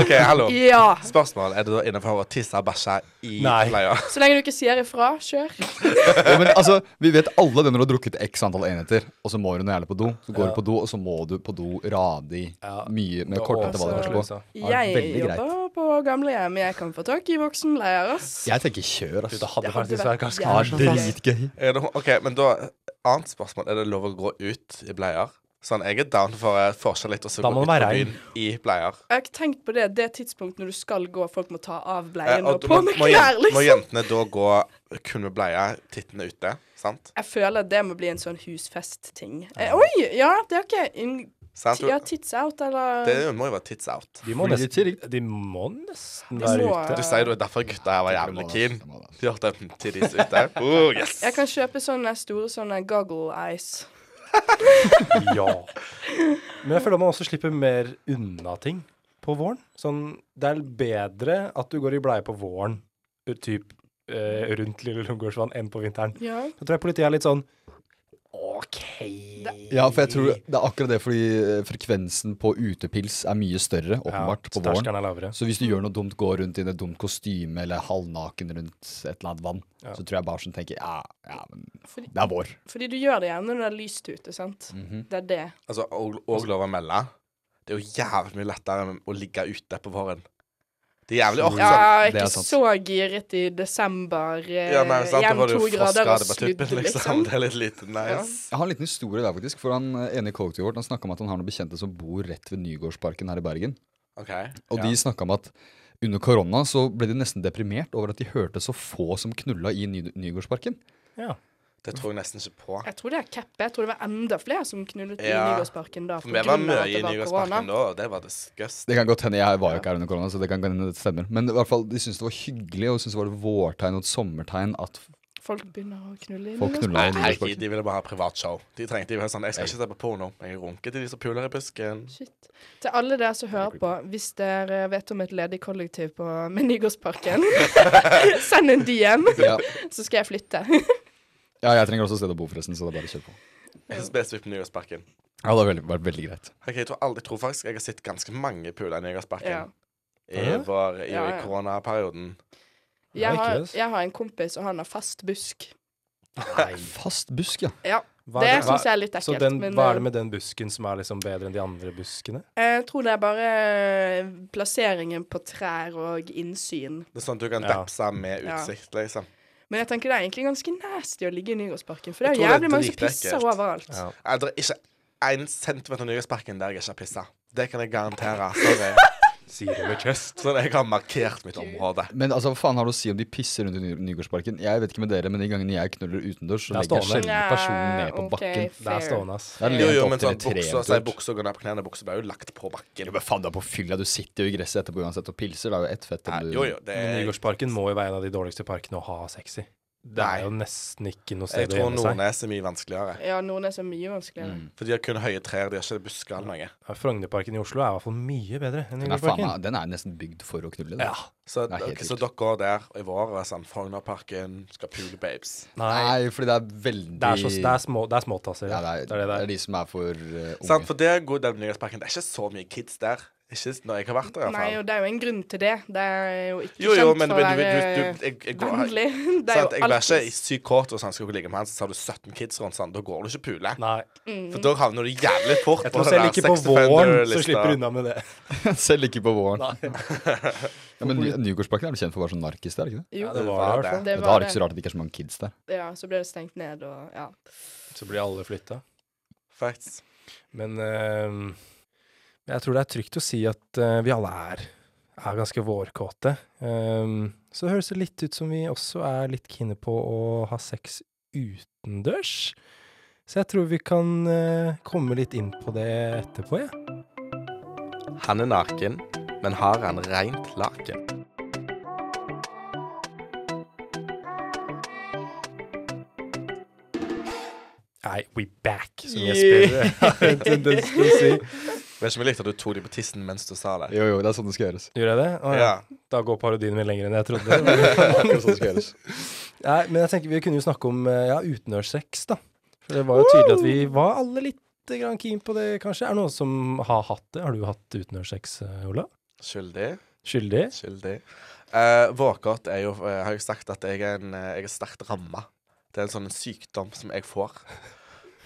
OK, hallo.
Ja.
Spørsmål. Er det da innenfor å tisse og bæsje i
Nei.
bleia?
Så lenge du ikke sier ifra, kjør.
Ja, men altså, Vi vet alle det når du har drukket x antall enheter, og så må du noe gjerne på do. Så går du på do, og så må du på do radig
Ja.
mye med kortere til hva du har lyst på.
Altså,
Ja,
Jeg
veldig greit.
jobber på gamlehjem. Jeg kan få tak i voksenleier, ass.
Jeg tenker kjør, ass.
Det hadde
Det hadde
faktisk
vært
vært ganske
Ja,
jævlig
artig.
dritgøy.
Er det, OK, men da Annet spørsmål. Er det lov å gå ut i bleier? Sånn, jeg er down for eh, forskjell litt, og så
Da
gå
må
ut
det
på
være
byen i bleier.
Jeg har ikke tenkt på det. Det tidspunktet når du skal gå, folk må ta av
Eh,
bleien
og
og
da
på
må-
med
må
klær,
jen- Må
liksom.
jentene da gå kun med bleie, tittene ute? Sant?
Jeg føler at det må bli en sånn husfest-ting. Eh, oi! Ja, det er ikke en-
sant?
Ja, tits out, eller
Det må jo være tits out.
De må
Fordi
nesten, de må nesten
De
være
må-
ute.
Du sier det er derfor gutta her var jævlig keen. De har hatt en tittis ute. Oh, yes.
Jeg kan kjøpe sånne store sånne goggle eyes.
Ja. Men jeg føler man også slipper mer unna ting på våren. Sånn, det er bedre at du går i bleie på våren, u- typ eh, rundt Lille Lungegårdsvann, enn på vinteren.
Ja.
Da tror jeg politiet er litt sånn OK.
Ja, for jeg tror det er akkurat det, fordi eh, frekvensen på utepils er mye større, åpenbart, på våren.
Terskelen er lavere.
Så hvis du gjør noe dumt, går rundt i et dumt kostyme eller halvnaken rundt et eller annet vann,
Ja.
så tror jeg bare sånn tenker ja, ja, men
Fordi, Mhm.
det er vår.
fordi du gjør det gjerne når det er lyst ute, sant? Det er det.
Altså, og, og lov å melde. Det er jo jævlig mye lettere enn å ligge ute på våren. Det er jævlig ork.
Ja,
sånn.
jeg er
Det er
ikke
sant.
så giret i desember. Eh,
Ja, nei, sant? Da
igjen
var det
to
jo
grader og
frostgrader på
sludd,
tuppen, liksom.
liksom.
Det er litt lite nice.
Jeg har en liten historie der, faktisk. For han eh, ene i kollektivet vårt han snakka om at han har noen bekjente som bor rett ved Nygårdsparken her i Bergen.
OK.
Og
ja.
de snakka om at under korona så ble de nesten deprimert over at de hørte så få som knulla i Ny Nygårdsparken.
Ja.
Det tror jeg nesten ikke på.
Jeg tror det er keppet. Jeg tror det var enda flere som knullet i
Ja.
Nygårdsparken da.
For vi var mye i
korona.
Nygårdsparken da, og det var disgust.
Det kan godt hende, jeg var jo ikke her under korona, så det kan hende det stemmer. Men i hvert fall, de syntes det var hyggelig, og syntes det var et vårtegn og et sommertegn at
Folk begynner å knulle i
folk
Nygårdsparken.
knulla i
Herregud,
Nygårdsparken.
de ville bare ha privatshow. De trengte de ville ha sånn Jeg skal ikke se på porno, men jeg runker til de som puler i busken.
Shit. Til alle dere som hører på, hvis dere vet om et ledig kollektiv på, med Nygårdsparken, send en DM,
Ja.
så skal jeg flytte.
ja, jeg trenger også et sted å bo, forresten, så det er bare å kjøre på.
Spesifikt på Nygårdsparken.
Ja, det har veldig- vært veldig greit.
Ok, jeg, tror aldri, jeg tror faktisk jeg har sett ganske mange puler i Nygårdsparken
Ja.
i,
Hæ?
vår- i,
Ja, ja.
i koronaperioden.
Jeg har,
Likes.
jeg har en kompis, og han har fast busk.
Fast busk, ja.
Ja,
Hva
det
er hva-
syns jeg er litt
så
ekkelt.
den,
men, eh,
hva er det med den busken som er liksom bedre enn de andre buskene?
Jeg tror det er bare eh, plasseringen på trær og innsyn.
Det er sånn at du kan
Ja.
dapse med
Ja.
utsikt, liksom.
Men jeg tenker det er egentlig ganske nasty å ligge i Nygårdsparken, for det er
Jeg
jo
tror det er
jævlig mange som pisser
dritekkelt.
overalt.
Ja.
Eh, Det er ikke én centimeter Nygårdsparken der jeg ikke har pissa. Det kan jeg garantere. Sorry.
Sier det med kjøst.
Sånn jeg har markert mitt område.
Men altså, hva faen har det å si om de pisser rundt i Ny- Nygårdsparken? Jeg vet ikke med dere, men de gangene jeg knuller utendørs,
Det
så
er
legger jeg
stående.
sjelden personen ned på
Ja, ok,
bakken.
Det er
fair.
stående, ass.
Det er
Jo,
lent
jo,
opp
men
til
sånn
et tre
buksa, så er
eventuelt.
buksa går ned på knærne, buksa ble jo lagt på bakken.
Jo, men faen, du er på fylla. Du sitter jo i gresset etterpå uansett og pilser. Det er jo ett fett.
Nei,
om du-
jo, jo, det
Men
er
Nygårdsparken må jo være en av de dårligste parkene å ha sex i. Det
Nei.
er jo nesten ikke noe sted
Jeg
å
tror
gjemme seg.
Nordnes er mye vanskeligere.
Ja, Nordnes er mye vanskeligere.
Mm.
For de har kun høye trær, de har ikke busker eller noe.
Ja, Frognerparken i Oslo er i hvert fall mye bedre enn
Den er, faen,
Nygårdsparken.
meg- den er nesten bygd for å knulle. den.
Ja.
Så,
Det er helt
ok, så
vilt.
dere går der og i vår og er sånn Frognerparken skal pule babes.
Nei.
Nei, fordi det er veldig
Det er, så, det er, små, det er småtasser.
Ja, det, er, det, er
det er.
de som er for eh, unge.
Sant, for det er en god del av Nygårdsparken. Det er ikke så mye kids der. Ikke når jeg har vært der,
Nei,
iallfall.
og det er jo en grunn til det. Det er jo ikke
Jo, jo,
kjent
men du,
for
du,
å
du,
være
du jeg, jeg går,
vennlig. Det er
sant?
jo
Jeg blir ikke i
alltid
syk kort og sånn, skal du ligge med han, så har du 17 kids rundt sånn. Da går du ikke pule.
Nei.
mm.
For da havner du jævlig fort
Jeg tror selv ikke på våren så slipper unna med det.
Selv ikke på våren.
Nei.
Ja, men Ny- Nygårdsparken er vel kjent for å være sånn narkis der, ikke det?
Jo,
Ja, det
det
var det, i hvert fall.
var det.
Ja, da er det ikke så rart at det ikke er så mange kids der.
Ja, så ble det stengt ned og ja.
Så blir alle flytta.
Facts.
Men eh, jeg tror det er trygt å si at eh, vi alle er, er ganske vårkåte. Eh, så høres det litt ut som vi også er litt kine på å ha sex utendørs. Så jeg tror vi kan eh, komme litt inn på det etterpå, jeg.
Han er naken, men har han rent laken?
Nei, we back, som Jesper har en tendens til å si.
Vet ikke om jeg likte at du tok dem på tissen mens du sa det.
Jo, jo, det er sånn det skal gjøres.
Gjorde jeg det? Å, ja.
Ja.
Da går parodien min lenger enn jeg trodde.
Akkurat sånn det skal gjøres.
Nei, men jeg tenker vi kunne jo snakke om eh, ja, utendørssex, da. For det var jo tydelig at vi var alle litt lite grann keen på det, kanskje. Er det noen som har hatt det? Har du hatt utenørssex, eh, Olav?
Skyldig.
Skyldig?
Skyldig. Eh, vårkåt er jo eh, Har jeg sagt at jeg er, en, eh, jeg er sterkt ramma. Det er en sånn sykdom som jeg får.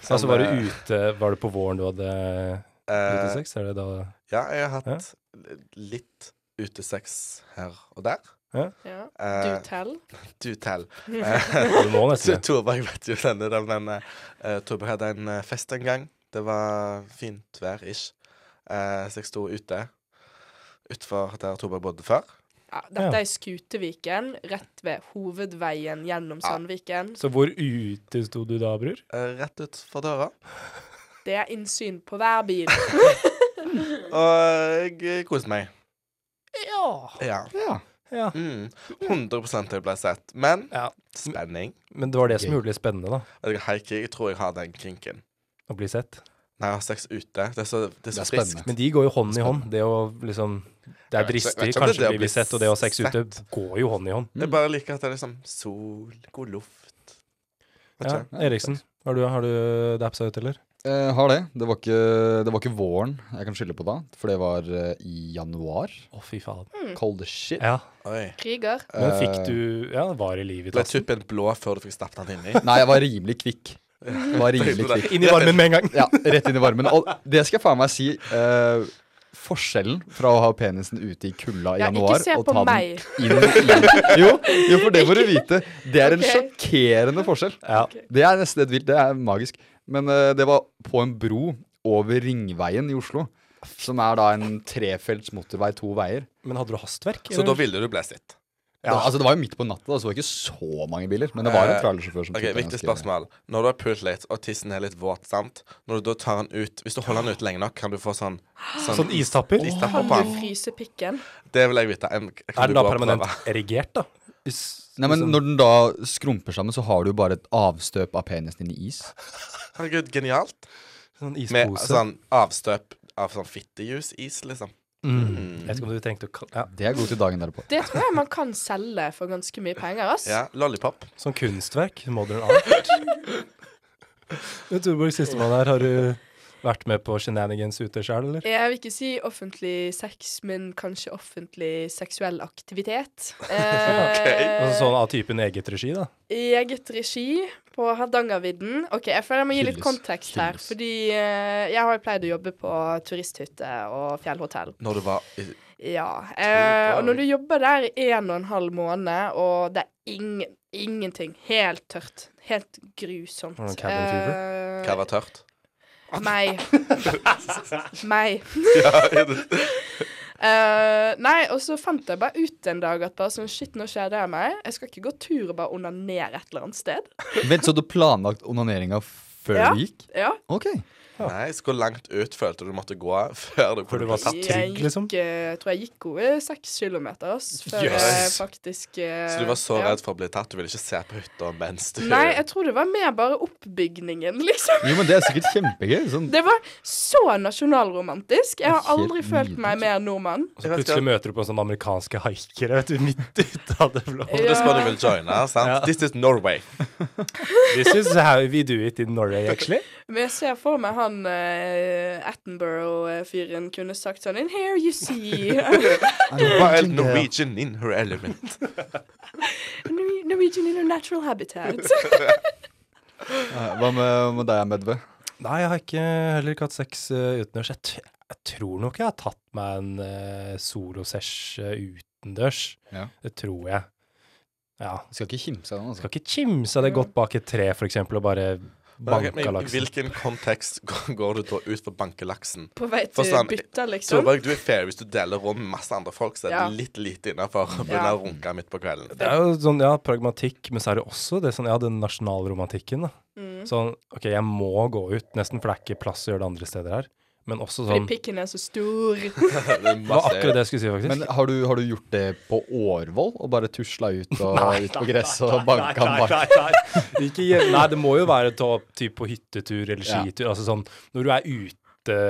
Som,
altså, var det
eh,
ute Var det på våren du hadde
eh,
utesex? Er det da
Ja, jeg har hatt litt utesex her og der.
Ja. Do
Eh,
tell.
du tell.
Var det nå, nesten?
Torberg vet jo denne, da, men eh, Torberg hadde en eh, fest en gang. Det var fint vær, ish. Eh, så jeg sto ute utenfor der Torberg bodde før.
Ja, dette
Ja.
er Skuteviken, rett ved hovedveien gjennom
Ja.
Sandviken.
Så hvor ute sto du da, bror?
eh, rett utenfor døra.
Det er innsyn på hver bil.
Og jeg eh, koste meg.
Ja.
Ja.
Ja.
ja.
Mm. 100 jeg ble sett. Men
Ja.
spenning.
Men det var det som
Gøy.
gjorde det litt spennende, da.
Jeg, hiker, jeg tror jeg har den kinken.
Å bli sett.
Nei, jeg har sex ute. Det er så, det er så
Det er
friskt.
spennende.
Men de går jo hånd i hånd. Det å liksom Det
Jeg
er
vet ikke- jeg
dristig,
vet ikke om det er
kanskje
det å
bli
bli
litt sett, og det å ha sex
sett.
ute går jo hånd i hånd.
mm.
Jeg bare liker at det er liksom sol, god luft. Vet
Ja.
ikke.
Ja,
Eriksen, har du, har du dapsa ut, eller?
Eh, har det. Det var, ikke, det var ikke våren jeg kan skylde på da, for det var eh, i januar.
Å, fy faen.
Mm.
Cold as shit.
Ja.
Oi.
Kriger.
Men fikk
Eh,
du Ja, var i livet altså. i
Ble
tassen?
tuppen blå før du fikk stappet den inni?
Nei, jeg var rimelig kvikk. Jeg var rimelig kvikk.
Inn i varmen med en gang.
Ja, rett inn i varmen. Og det skal jeg faen meg si. eh, forskjellen fra å ha penisen ute i kulda i
Ja,
januar
ikke se
og
på
ta
meg.
den inn i Jo, jo, for det må du vite. Det er en
Ok.
sjokkerende forskjell.
Ja.
Det er nesten helt vilt. Det er magisk. Men eh, det var på en bro over Ringveien i Oslo. Som er da en trefelts motorvei to veier.
Men hadde du hastverk?
Så da ville du bli sett.
Ja. Det, altså, det var jo midt på natta, da, så det var ikke så mange biler. Men det var
Eh,
en trailersjåfør som
Ok,
tok den
Viktig
ganske-
spørsmål. Når du har pult litt, og tissen er litt våt, sant Når du da tar den ut Hvis du holder den ute lenge nok, kan du få sånn
Sånn istapper?
istapper
Kan
på
du
den.
fryse pikken?
Det vil jeg vite. En, kan
Er
du
den da
gå og
permanent
prøve?
erigert, da? Hvis-
Nei, men
liksom-
Når den da skrumper sammen, så har du jo bare et avstøp av penisen din i is.
Herregud, genialt.
Sånn
Med
ispose.
sånn avstøp av sånn fittejus-is, liksom.
mm. Jeg vet ikke om du trengte å kall- ja.
Det er god til dagen derpå.
Det tror jeg man kan selge for ganske mye penger, ass.
Ja, Lollipop.
Sånn kunstverk. Modern art. Du, Torborg, sistemann her. Har du vært med på shenanigans ute sjøl, eller?
Jeg vil ikke si offentlig sex, men kanskje offentlig seksuell aktivitet. Eh,
Altså sånn av typen eget regi, da?
I eget regi på Hardangervidden. OK, jeg føler jeg må gi litt
Hylles.
kontekst her.
Hylles.
Fordi eh, jeg har jo pleid å jobbe på turisthytte og fjellhotell.
Når du var i
Ja. Eh, og når du jobber der i en og en halv måned, og det er ingen, ingenting Helt tørt. Helt grusomt.
Var det noen cabin fever?
Eh,
Hva var tørt?
meg. meg.
Ja,
Eh, nei, og så fant jeg bare ut en dag at bare sånn Shit, nå skjer det meg. Jeg skal ikke gå tur og bare onanere et eller annet sted.
Vent, så du planlagt onaneringa før
Ja.
du gikk?
Ja.
Ok.
Nei, så hvor langt ut følte du måtte gå før du
For du
kunne
var
bli tatt?
satt trygg, liksom?
Jeg gikk, eh, tror jeg gikk gode seks kilometer ass, før jeg
Jøss.
faktisk eh,
Så du var så
ja.
redd for å bli tatt, du ville ikke se på hytta mens du
Nei, jeg tror det var mer bare oppbygningen, liksom.
Jo, men det er sikkert kjempegøy. Sånn.
Det var så nasjonalromantisk. Jeg har
Helt
aldri følt meg mer nordmann.
Og
Jeg
så
vet
plutselig
ikke.
møter du på en sånn amerikanske haikere vet du, midt ute av det blå.
Ja.
Det spør du vil joine, sant?
Ja.
This is Norway.
This is how we do it in Norway, actually.
Men jeg ser for meg han eh, Attenborough-fyren kunne sagt sånn In here you see
Wild Norwegian in her element.
Nor- Norwegian in a natural habitat.
Eh, Hva med, med deg, Medve?
Nei, jeg har ikke, heller ikke hatt sex uh, utendørs. Jeg, t jeg tror nok jeg har tatt meg en uh, solosesh eh, utendørs.
Ja.
Det tror jeg. Ja.
Skal ikke kimse av den, altså.
Skal ikke kimse av det godt bak et tre, for eksempel, og bare
Men
banka
I
laksen.
hvilken kontekst går du da ut for bankelaksen?
På vei
For
til
sånn,
bytta, liksom.
Solberg, du er fair hvis du deler rom med masse andre folk, så er
Ja.
det litt lite innafor å begynne
Ja.
å runke midt på kvelden.
Det er jo sånn, ja, pragmatikk, men så er det også det sånn, ja, den nasjonalromantikken, da.
Mm.
Sånn, ok, jeg må gå ut, nesten, for det er ikke plass å gjøre det andre steder her. Men også
Fordi
sånn, det
pikken er så stor.
var akkurat det jeg skulle si, faktisk.
Men har du, har du gjort det på Årvoll? Og bare tusla ut, og, ut på gresset
altså,
og banka en mark?
Ikke hjem- Nei, det må jo være ta, typ på hyttetur eller skitur. Altså sånn når du er ute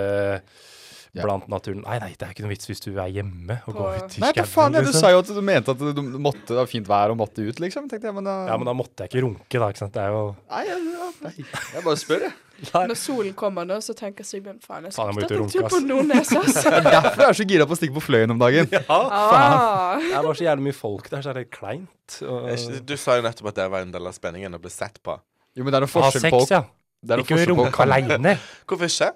Ja.
blant naturen. Nei, nei, det er ikke noe vits hvis du er hjemme og går
På-
ut i
Nei, hva
skauen,
faen, ja, du
liksom.
sa jo at du mente at du måtte det var fint vær og måtte ut, liksom. Tenkte jeg, men da
Ja, men da måtte jeg ikke runke, da. ikke sant? Det er jo
Nei, jeg, ja, nei. jeg bare spør, jeg.
Når solen kommer nå, så tenker Sigbjørn faen, jeg
Faen, jeg må
skulle tatt
ut og
en tur
runke,
på
ass.
Nordnes, altså.
Det er derfor jeg er så gira på å stikke på Fløyen om dagen.
Ah,
Det var så jævlig mye folk der, så er det kleint. Og...
Er ikke- Du sa jo nettopp at det var en del av spenningen å bli sett på.
Jo, men det er en
Ha
forskjell på
sex, ja.
det er en
Ikke
forskjell på å
runke
kan-
aleine.
Hvorfor ikke?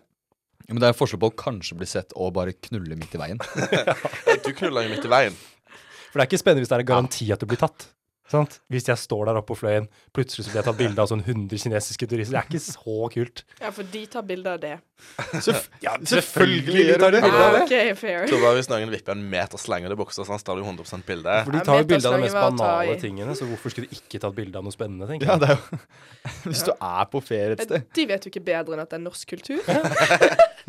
Jo, men det er en forskjell på å kanskje bli sett og bare knulle midt i veien.
Du knulla jo midt i veien.
For det er ikke spennende hvis det er en garanti at du blir tatt. Sant? Hvis jeg står der oppe på fløyen, plutselig så blir jeg tatt bilde av sånn 100 kinesiske turister. Det er ikke så kult.
ja, for de tar bilde av det.
Ja,
selvfølgelig tar de bilde av
Ah, OK, fair.
Tror bare hvis noen vipper en meter slange i buksa, så han står det jo 100 bilde.
For de
Ja,
tar jo bilde av de
meterslangen
mest
var å ta
banale
i.
tingene, så hvorfor skulle de ikke tatt bilde av noe spennende, tenker jeg.
Ja, det er jo Hvis du er på ferie et sted.
De vet jo ikke bedre enn at det er norsk kultur.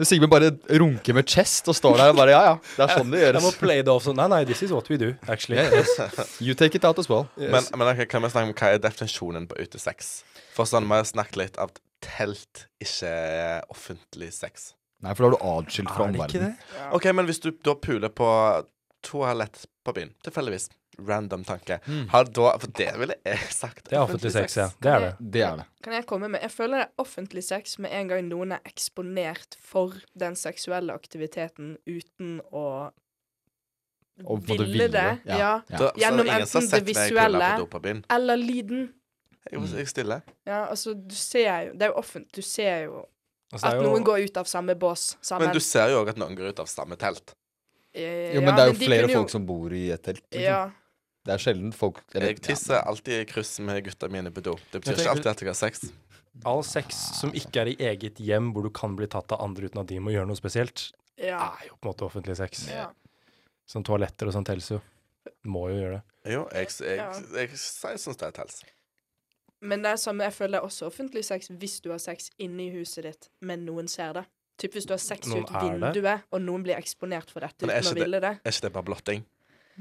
Sigmund bare runker med chest og står der og bare Ja, ja, det er sånn det
Jeg må
gjøres.
play det off sånn. Nei, nei, this is what we do, actually.
Yeah, You take it out as well.
Men, men ok, kan vi snakke om hva er definisjonen på utesex? For sånn, Vi har snakket litt av at telt ikke er offentlig sex.
Nei, for da er du atskilt fra
Er det ikke
omverdenen.
det?
OK, men hvis du da puler på toalett på byen, tilfeldigvis, random tanke, har da For det ville jeg
Hmm.
sagt.
Det er offentlig sex, ja. Det er det.
Det er det.
Kan jeg komme med? Jeg føler det er offentlig sex med en gang noen er eksponert for den seksuelle aktiviteten uten å
Og på det
ville,
ville,
det.
ja.
Ja.
Ja.
Da,
Gjennom
så ingen som
enten
har sett
det
meg i kølla
visuelle-
på do på byen.
Eller lyden.
Jeg,
Hmm.
jeg er stille.
Ja, altså, du ser jo Det er jo offentlig. Du ser jo
Altså, det
at
er jo-
noen går ut av samme bås sammen.
Men du ser jo òg at noen går ut av samme telt.
Eh,
Jo, men
ja,
det er jo
de
flere
kunne
folk som bor i et telt. Liksom.
Ja.
Det er sjelden folk eller-
Jeg tisser alltid i kryss med gutta mine på do. Det betyr
Jeg
ikke
tenker-
alltid at jeg har sex.
All sex som ikke er i eget hjem, hvor du kan bli tatt av andre uten at de må gjøre noe spesielt,
ja.
Ah,
er jo på en måte offentlig sex.
ja.
Som toaletter og sånn teller jo. Må jo gjøre det.
Jo, jeg, jeg,
Ja.
jeg, jeg, syns det er tels.
Men det er samme, jeg føler det er også offentlig sex hvis du har sex inni huset ditt, men noen ser det. Typ hvis du har sex
Noen
ut
er det?
vinduet, og noen blir eksponert for dette
Men er
uten å
ikke det-
ville det.
Er ikke det bare blotting?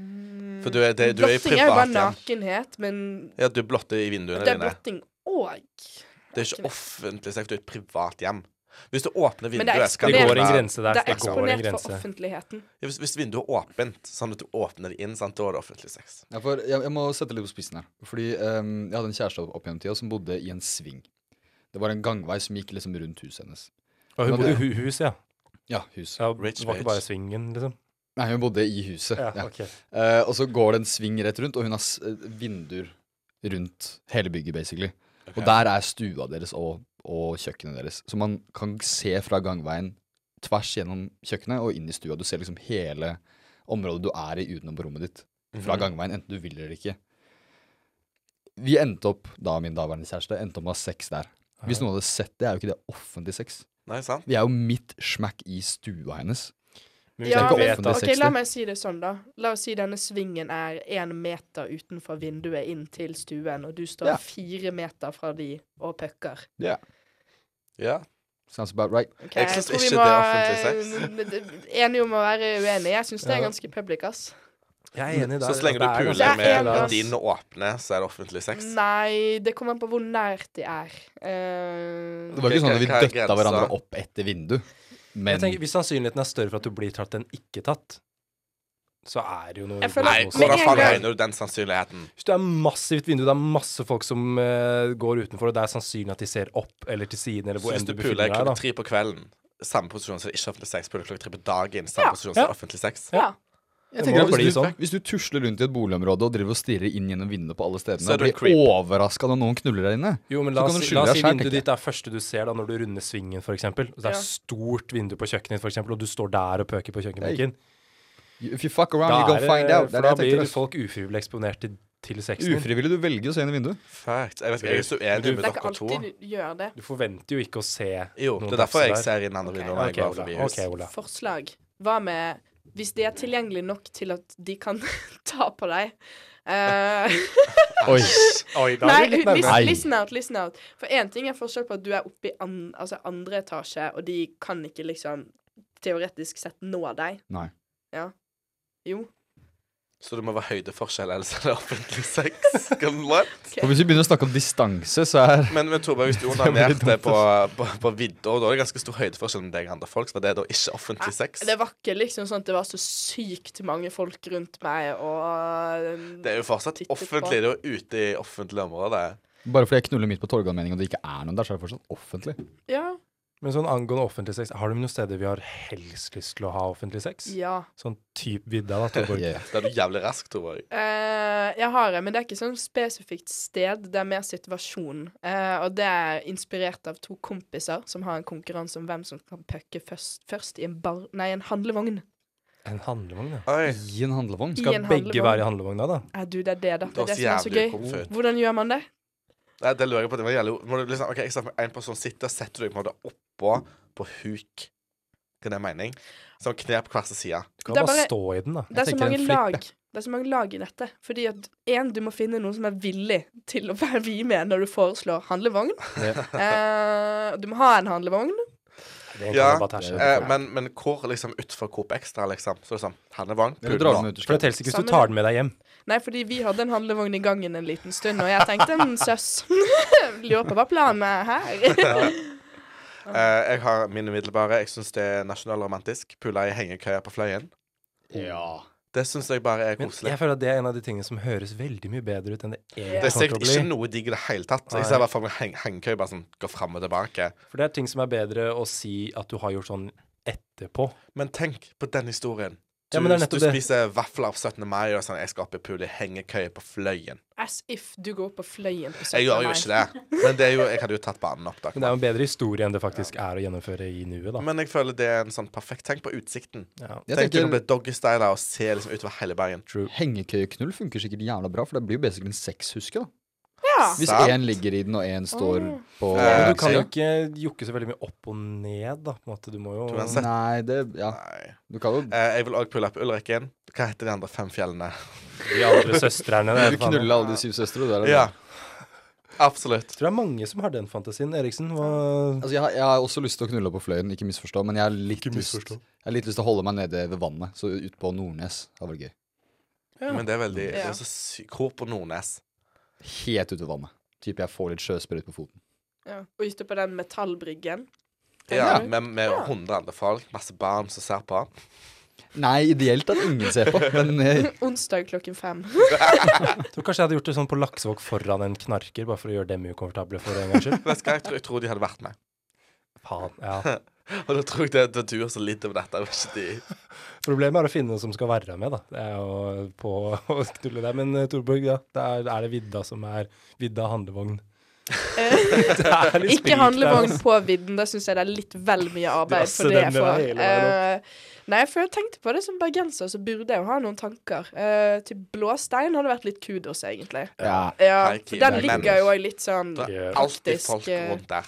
Mm.
For du er, det, du er i
blotting er jo bare
privat hjem.
nakenhet, men
Ja, du blotter i vinduene
det er
dine.
blotting òg.
Det er ikke offentlig sex, du er i et privat hjem. Hvis du åpner
Men det er
vinduet skal
Det
eksponert.
du
går en
være-
grense der.
Det
Det
er
går en
eksponert for
grense.
offentligheten.
Ja, Hvis, hvis vinduet er åpent, sånn at du åpner det inn, sant, da er det offentlig sex.
Ja, for jeg, jeg må sette litt på spissen her. Fordi ehm, Jeg hadde en kjæreste opp gjennom tida som bodde i en sving. Det var en gangvei som gikk liksom rundt huset hennes.
Og hun
Ja,
bodde i
det-
hu- hus, ja.
Ja, hus.
ja
Rich
det var
bitch.
ikke bare svingen, liksom.
Nei, hun bodde i huset.
Ja,
Ja,
ok.
Eh, og så går det en sving rett rundt, og hun har s eh, vinduer rundt hele bygget, basically. Og der er stua deres og, og kjøkkenet deres. Så man kan se fra gangveien tvers gjennom kjøkkenet og inn i stua. Du ser liksom hele området du er i utenom på rommet ditt.
Mhm.
Fra gangveien, enten du vil eller ikke. Vi endte opp, da min daværende kjæreste, endte opp med å ha sex der. Hvis noen hadde sett det, er jo ikke det offentlig sex.
Nei, sant?
Vi er jo midt smack i stua hennes.
Men hvis
Ja,
jeg
ikke
men,
vet
offentlig
at
ok,
sex,
la
det.
meg si det sånn, da. La oss si denne svingen er én meter utenfor vinduet inn til stuen, og du står
Ja.
fire meter fra de og pucker.
Ja.
Sounds about right.
Ok,
Jeg synes
tror vi
ikke
må,
det er
eh, Enige om å være uenige. Jeg syns det er
Ja.
ganske public, ass.
Jeg er enig der.
Så så lenge du
Det er
Det
puler
er
med
en gang.
din åpne, så er det offentlig sex.
Nei, det kommer an på hvor nært de er. Eh,
Det var ikke
Ok,
sånn at vi
hva er
døtta
grensa?
hverandre opp etter vindu. Men
Jeg tenker, Hvis sannsynligheten er større for at du blir tatt enn ikke tatt, så er det jo noe
Jeg føler-
Nei,
noe som-
Men
hvordan
en
faen
gang-
regner du den sannsynligheten?
Hvis du er massivt vindu, det er masse folk som eh, går utenfor, og det er sannsynlig at de ser opp eller til siden, eller
Så
hvor
hvis
enn
du
du
puler
befinner deg,
klokka
da.
tre på kvelden, samme posisjon som ikke offentlig sex, puler klokka tre på dagen, samme
Ja,
posisjon
ja.
som offentlig sex.
ja.
Jeg
Det
tenker
må
at
bli
hvis, du,
sånn.
hvis du tusler rundt i et boligområde og driver og stirrer inn gjennom vinduene på alle
Så
stedene
er
og
du en
blir
creep.
overraska når noen knuller der inne
Jo, men
Så
la
kan
oss
du
si,
skylde
la oss
deg
si
selv,
vinduet
tenker jeg.
ditt er første du ser da når du runder svingen, for eksempel. Og det er
Ja.
stort vindu på kjøkkenet ditt, for eksempel, og du står der og pøker på kjøkkenbenken.
You- If you fuck around,
Da,
you go
er
find
det-
out. Det
for
er det
da
jeg tenker.
blir
ass.
folk ufrivillig eksponert til, til sexen. din.
Ufrivillig, du velger å se inn i vinduet.
Fact. Jeg vet ikke, jeg er så
Du-
uenig
Det
med
er ikke
dere to.
alltid du gjør det.
Du forventer jo ikke å se
Jo,
noen
det er derfor jeg
tafse der.
ser inn andre
Ok.
vinduer når jeg
Ok,
går
Ola.
forbi hus.
Ok, Ola.
Forslag. Hva med hvis de er tilgjengelige nok til at de kan ta på deg? Eh,
Oi.
Oi, da
nei,
er du litt
listen,
nærmere.
listen out, listen out. For én ting er forskjell på at du er oppe i an, altså andre etasje, og de kan ikke liksom teoretisk sett nå deg.
Nei.
Jo.
Så det må være høydeforskjell, ellers er det offentlig sex. Come what?
For hvis vi begynner å snakke om distanse, så er
Men, men Torberg, hvis du onanerte på, på, på vidda, da er det ganske stor høydeforskjell mellom deg og andre folk. Så var det da ikke offentlig sex?
Det var ikke liksom sånn at det var så sykt mange folk rundt meg og um,
Det er jo fortsatt
Tittet på.
offentlig. Det er jo ute i offentlig område.
Bare fordi jeg knuller midt på Torgallmenningen og det ikke er noen der, så er det fortsatt offentlig.
Ja.
Men sånn angående offentlig sex, har du noen steder vi har helst lyst til å ha offentlig sex?
ja.
Sånn type vidda, da, Torborg.
Yeah.
Det er du jævlig rask, Torberg.
Eh, jeg har det, men det er ikke sånn spesifikt sted. Det er mer situasjon. Eh, og det er inspirert av to kompiser som har en konkurranse om hvem som kan pucke først, først i en bar... Nei, en handlevogn.
En handlevogn, ja.
Oi.
I en handlevogn.
I
Skal
en
begge
handlevogn.
være i handlevogna, da?
Eh, du, det er det, da.
Det var
Det er det
så
som er så
jævlig
gøy.
komfort.
Hvordan gjør man det?
Nei, det lurer jeg på. Det var jævlig må du liksom, OK, jeg ser for meg en person sitter, setter du deg på en måte oppå på huk. Hva er det mening? Sånn kne på hver sin side.
Du kan
Det er
bare,
bare-
stå i den, da.
Det er så
tenker en
mange
flipp,
lag.
jeg.
Det er så mange lag i dette. Fordi at én, du må finne noen som er villig til å være vi med når du foreslår handlevogn. Eh, du må ha en handlevogn.
Det er egentlig
Ja,
bare tæsje.
Eh, men, men hvor liksom utenfor Coop Extra, liksom? Så er det sånn Handlevogn.
Eller drar
puler.
du med ut i
For det
skauen?
teller ikke hvis du tar den med deg hjem.
Nei, fordi vi hadde en handlevogn i gangen en liten stund, og jeg tenkte en søs. Lurer på hva planen er her.
Eh, jeg har min umiddelbare. Jeg syns det er nasjonalromantisk. Pula i hengekøya på Fløyen.
Ja.
Det syns jeg bare er
Men
koselig.
jeg føler at det er en av de tingene som høres veldig mye bedre ut enn det
Det
egentlig
Det er
kommer
sikkert
til
ikke
å bli.
noe digg i det hele tatt. Så
Nei.
jeg ser i hvert fall en heng hengekøye bare sånn går fram og tilbake.
For det er ting som er bedre å si at du har gjort sånn etterpå.
Men tenk på den historien. Du,
Ja, men det er
du
nettopp det.
spiser vafler på 17. mai og sånn 'Jeg skal opp i pula i hengekøye på Fløyen'.
As if du går på fløyen på 17.
Jeg gjør jo
mai.
ikke det. Men det er jo, jeg hadde jo tatt banen opp. da
Men det er jo en bedre historie enn det faktisk er å gjennomføre i nuet, da.
Men jeg føler det er en sånn perfekt Tenk på utsikten.
Ja.
Jeg
Tenk å
tenker
bli doggystyla og se liksom utover hele Bergen.
Hengekøyeknull funker sikkert jævla bra, for det blir jo basically en sexhuske, da.
Ja.
Hvis
Sant.
én ligger i den, og én står
Åh.
på
Eh,
Men du kan jo
sier-
ikke jokke så veldig mye opp og ned, da. På en måte. Du må jo
Du kan se-
Nei, det Ja,
Nei.
du kan jo
Eh, jeg vil òg pulle opp Ulrikken. Hva heter de andre fem fjellene?
De andre søstrene der.
Du knuller alle de syv søstre, og du er
Ja. Absolutt.
Jeg tror det er mange som har den fantasien. Eriksen, hva
Altså, jeg, har, jeg har også lyst til å knulle på fløyen, ikke misforstå, men jeg har litt,
Ikke
lyst,
misforstå.
jeg har litt lyst til å holde meg nede ved vannet, så ut på Nordnes. Det hadde vært gøy.
Men det er veldig
Ja.
det er så sy Hvor på Nordnes?
Helt ute ved vannet. Typ jeg får litt sjøsprøyt på foten.
ja. Og ute på den metallbryggen.
Ja,
Ja.
med, med 100 andre folk. Masse barn som ser på.
Nei, ideelt at ingen ser på, men eh,
Onsdag klokken fem.
Jeg tror kanskje jeg hadde gjort det sånn på Laksevåg foran en knarker, bare for å gjøre dem ukomfortable for en gangs skyld.
Vet du hva, jeg tror, jeg tror de hadde vært med.
Faen, ja.
Og da tror jeg det, det er du som lider med dette. og Ikke de.
Problemet er å finne noen som skal være med, da. Det er jo på å knulle der. Men eh, Torborg, ja, det er, er det vidda som er vidda handlevogn. Det er litt sprik
Ikke
der,
handlevogn
altså.
på vidden. Da syns jeg det er litt vel mye arbeid
Drasse
for det jeg
den der hele
får.
veien
Eh, nei, for jeg tenkte på det som bergenser, så burde jeg jo ha noen tanker. Eh, til Blåstein hadde vært litt kudos, egentlig.
ja.
Ja,
Hei,
for
Kim.
den
Det er
ligger jo også litt sånn
Det
Ja.
er alltid
Faktisk,
folk
eh,
rundt der.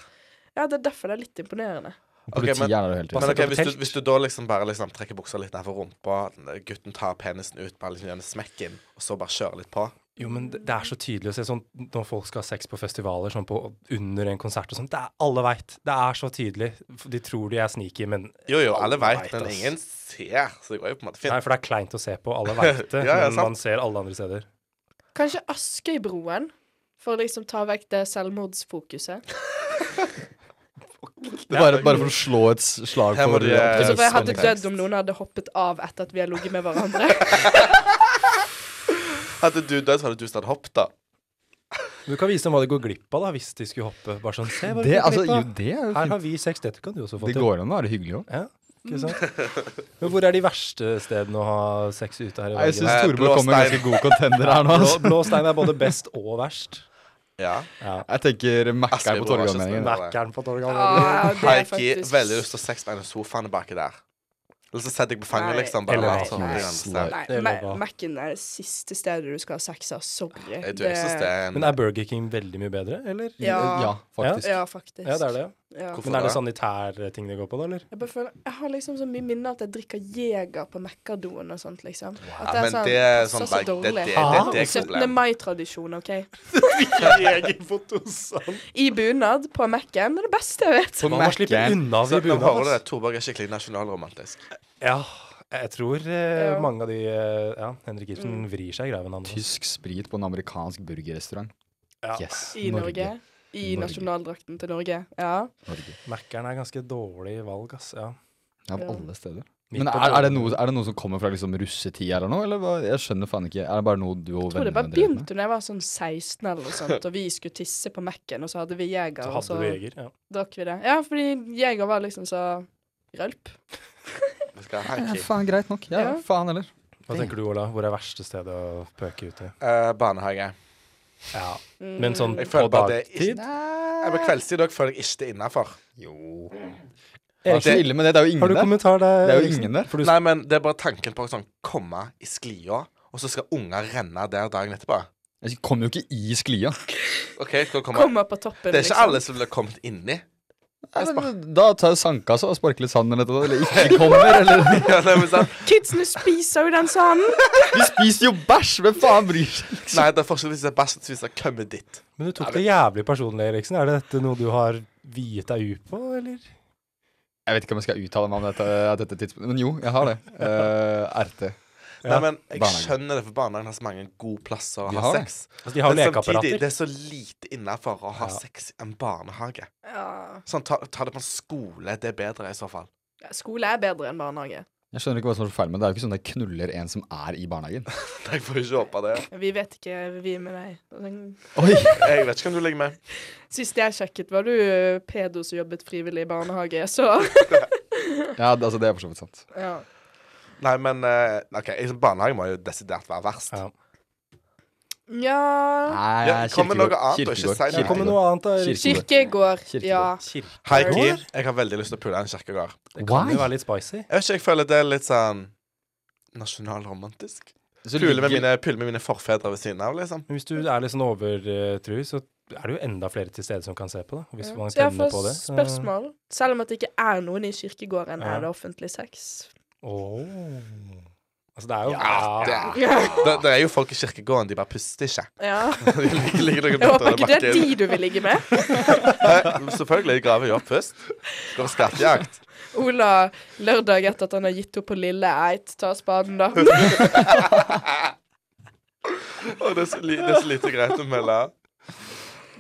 Ja, det er derfor det er litt imponerende.
Politiet
men-
er der jo hele
Men
tiden.
Sett
ok,
opp
hvis,
et
du,
telt.
hvis du da liksom bare liksom trekker buksa litt ned for rumpa, gutten tar penisen ut, bare liksom gjør en smekk inn, og så bare kjører litt på
Jo, men det, det er så tydelig å se sånn når folk skal ha sex på festivaler, sånn på under en konsert og sånn. Det er alle veit. Det er så tydelig. De tror de er sneaky, men
Jo, jo,
Alle
alle
vet,
vet, men
ass.
ingen ser, så det går jo på en måte fint.
Nei, for det er kleint å se på. Alle veit det,
Ja, ja,
men
sant.
man ser alle andre steder.
Kanskje Askøybroen, for å liksom ta vekk det selvmordsfokuset.
Det er bare, bare for å slå et s- slag
Her må
for
du, eh,
Så
optimisme.
Altså, for jeg hadde dødd om noen hadde hoppet av etter at vi har ligget med hverandre.
Hadde du dødd, så hadde du stått hopp, da.
Du kan vise dem hva de går glipp av, da, hvis de skulle hoppe. Bare sånn, se hva de
Det,
går
altså,
glipp
jo,
av.
det er jo
Her
fint.
har vi sex. Dette kan du også få
Det
til.
går Mm. an å være hyggelig òg.
Ja, ikke sant? Men hvor er de verste stedene å ha sex ute her i
Jeg
Norge?
Eh,
syns Torborg kom med
Blåstein.
ganske god contender her nå.
Blå,
Altså.
blå stein er både best og verst.
Ja.
Ja.
Jeg tenker Mac-er
Askøybro
på
var ikke
Torgallmenningen.
spennende.
Mackeren på Torgall.
Ah, det er
Haiki,
faktisk
veldig lyst til å ha sex med en av sofaene baki der. Eller så setter jeg på fanget,
Nei.
liksom. Bare,
Eller
la oss holde
nei,
det andre sted.
nei.
Det
Nei,
er
Ma-
lov, da.
Mac-en er det siste stedet du skal ha sex av. Sorry.
Jeg tror jeg synes det er en
Men er Burger King veldig mye bedre, eller?
Ja.
Ja, faktisk.
Ja, faktisk.
Ja, det er det.
Ja.
Hvorfor
Men er det sånn
det?
sanitærting det eh, går på, da, eller?
Jeg, bare føler, jeg har liksom så mye minner at jeg drikker Jeger på Mekkadoen og sånt, liksom. At
men det er
passer
sånn
så
like, det-
dårlig.
det-
det- det
er et
17.
problem.
mai-tradisjon, OK? I bunad på Mekken er det beste jeg vet.
På
Man må slippe
Mac-en
unna
Så
i
nå
bunad.
hører du det,
ass.
Torborg er skikkelig nasjonalromantisk.
Ja. Jeg tror eh,
Ja.
mange av de eh, Ja, Henrik Ibsen vrir seg i graven. Han, altså.
Tysk sprit på en amerikansk burgerrestaurant.
Ja.
Yes.
I Norge. I
Norge.
nasjonaldrakten til Norge. Ja.
Norge.
Mækkern er ganske dårlig valg, ass. Ja.
Ja, på
Ja.
alle steder.
Midt
Men
på
er, er, det
dagen.
noe, er det noe som kommer fra liksom russetida eller noe? Eller hva? Jeg skjønner faen ikke. Er det bare noe du og
Jeg tror det bare
drev
begynte
med?
da jeg var sånn 16 eller noe sånt, og vi skulle tisse på Mac-en, og så hadde vi Jeger,
Så
og
hadde
så
du jeger. Ja.
drakk vi det. Ja, fordi Jeger var liksom så rølp.
Vi skal ha
Ja,
hiking.
faen, greit nok. Ja,
Ja.
faen heller.
Hva tenker du, Ola? Hvor er verste stedet å pøke ut i?
Eh, barnehage.
Ja. Men
Mm.
sånn
Jeg
på
føler bare det er
dagtid?
ikke Nei, På kveldstid òg føler jeg ikke det er innafor.
Jo.
Ja,
Hva er så
det-
ille med det? Det er jo
Har
ingen
du
der.
kommentar der?
Det er jo
Eriksen?
ingen der.
For du
Nei, men det er bare tanken på å sånn, komme i sklia, og så skal unger renne der dagen etterpå.
Jeg kom jo ikke i sklia.
OK, skal komme.
Kommer liksom. på toppen,
Det er ikke alle som ville kommet inni.
Da tar jeg sandkassa og sparker litt sand eller noe. Eller ikke kommer, eller
Ja, nei, men sånn,
Kidsene spiser jo den sanden!
Vi spiser jo bæsj! Hvem faen bryr seg?
nei, det er forskjell hvis det er bæsj som har kommet dit.
Men du tok det jævlig personlig, Eriksen. Er dette noe du har viet deg ut på, eller?
Jeg vet ikke om jeg skal uttale meg om dette, av dette tidspunktet, men jo, jeg har det. Eh, RT.
Ja,
Nei, men jeg
barnehagen.
skjønner det, for barnehagen har så mange gode plasser å
De
ha
har det.
sex.
Altså, de har jo
Men samtidig,
lekeapparater.
det er så lite innafor å ha
Ja.
sex i en barnehage.
Ja.
Sånn, ta, ta det på en skole, det er bedre i så fall.
Skole er bedre enn barnehage.
Jeg skjønner ikke hva som er så feil med det. Det er jo ikke sånn at jeg knuller en som er i barnehagen.
Jeg får ikke håpe det.
Vi vet ikke, vi med deg.
Oi!
Jeg vet ikke hvem du ligger med.
Sist jeg sjekket, var du eh, pedo som jobbet frivillig i barnehage, så
Ja, det- altså, det er for så vidt sant.
ja.
Nei, men eh, OK, i barnehagen må jo desidert være verst.
Ja.
Nja
Nei,
Ja, kom med noe annet, og ikke si det.
Det kommer
kirkegård.
noe annet, da. Eriksen.
Kirkegård.
Kirkegård.
Kirkegård.
Ja.
High key, jeg har veldig lyst til å pule en kirkegård.
Det kan
Why?
jo være litt spicy.
Jeg vet ikke, jeg føler det er litt sånn nasjonalromantisk.
Så
Pule med,
ligger-
mine- pule med mine forfedre ved siden av, liksom.
Men hvis du er litt sånn overtru, så er det jo enda flere til stede som kan se på, da. Hvis man
Så jeg
tenner
får
på det. så-
spørsmål. Selv om at det ikke er noen i kirkegården,
Ja.
er det offentlig sex?
Åh. Altså, det er jo
Ja, det er,
Ja.
det, det er jo folk i kirkegården, de bare puster ikke. De ligger, ligger noen
Jeg håper
meter
ikke
under
det er
bakken.
de du vil ligge med.
Hæ? Selvfølgelig, de graver jo opp først. Går på skattejakt.
Ola, lørdag etter at han har gitt opp på Lille Eit, ta spaden, da.
Og det er så, li, det er så lite greit å melde.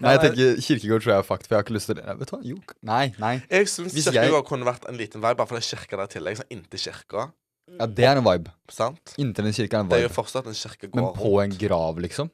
Nei, jeg tenker kirkegård tror jeg er fucked, for jeg har ikke lyst til det. Nei, Vet du hva? Jo. Nei, nei.
Jeg syns
Hvis jeg-
kirkegård kunne vært en liten vei, bare for det er kirke der i tillegg. Sånn inntil kirka.
Ja, det er en vibe.
Sant?
Inntil en kirke er en
Det er jo
vibe.
fortsatt en kirkegård.
Men på en grav, liksom?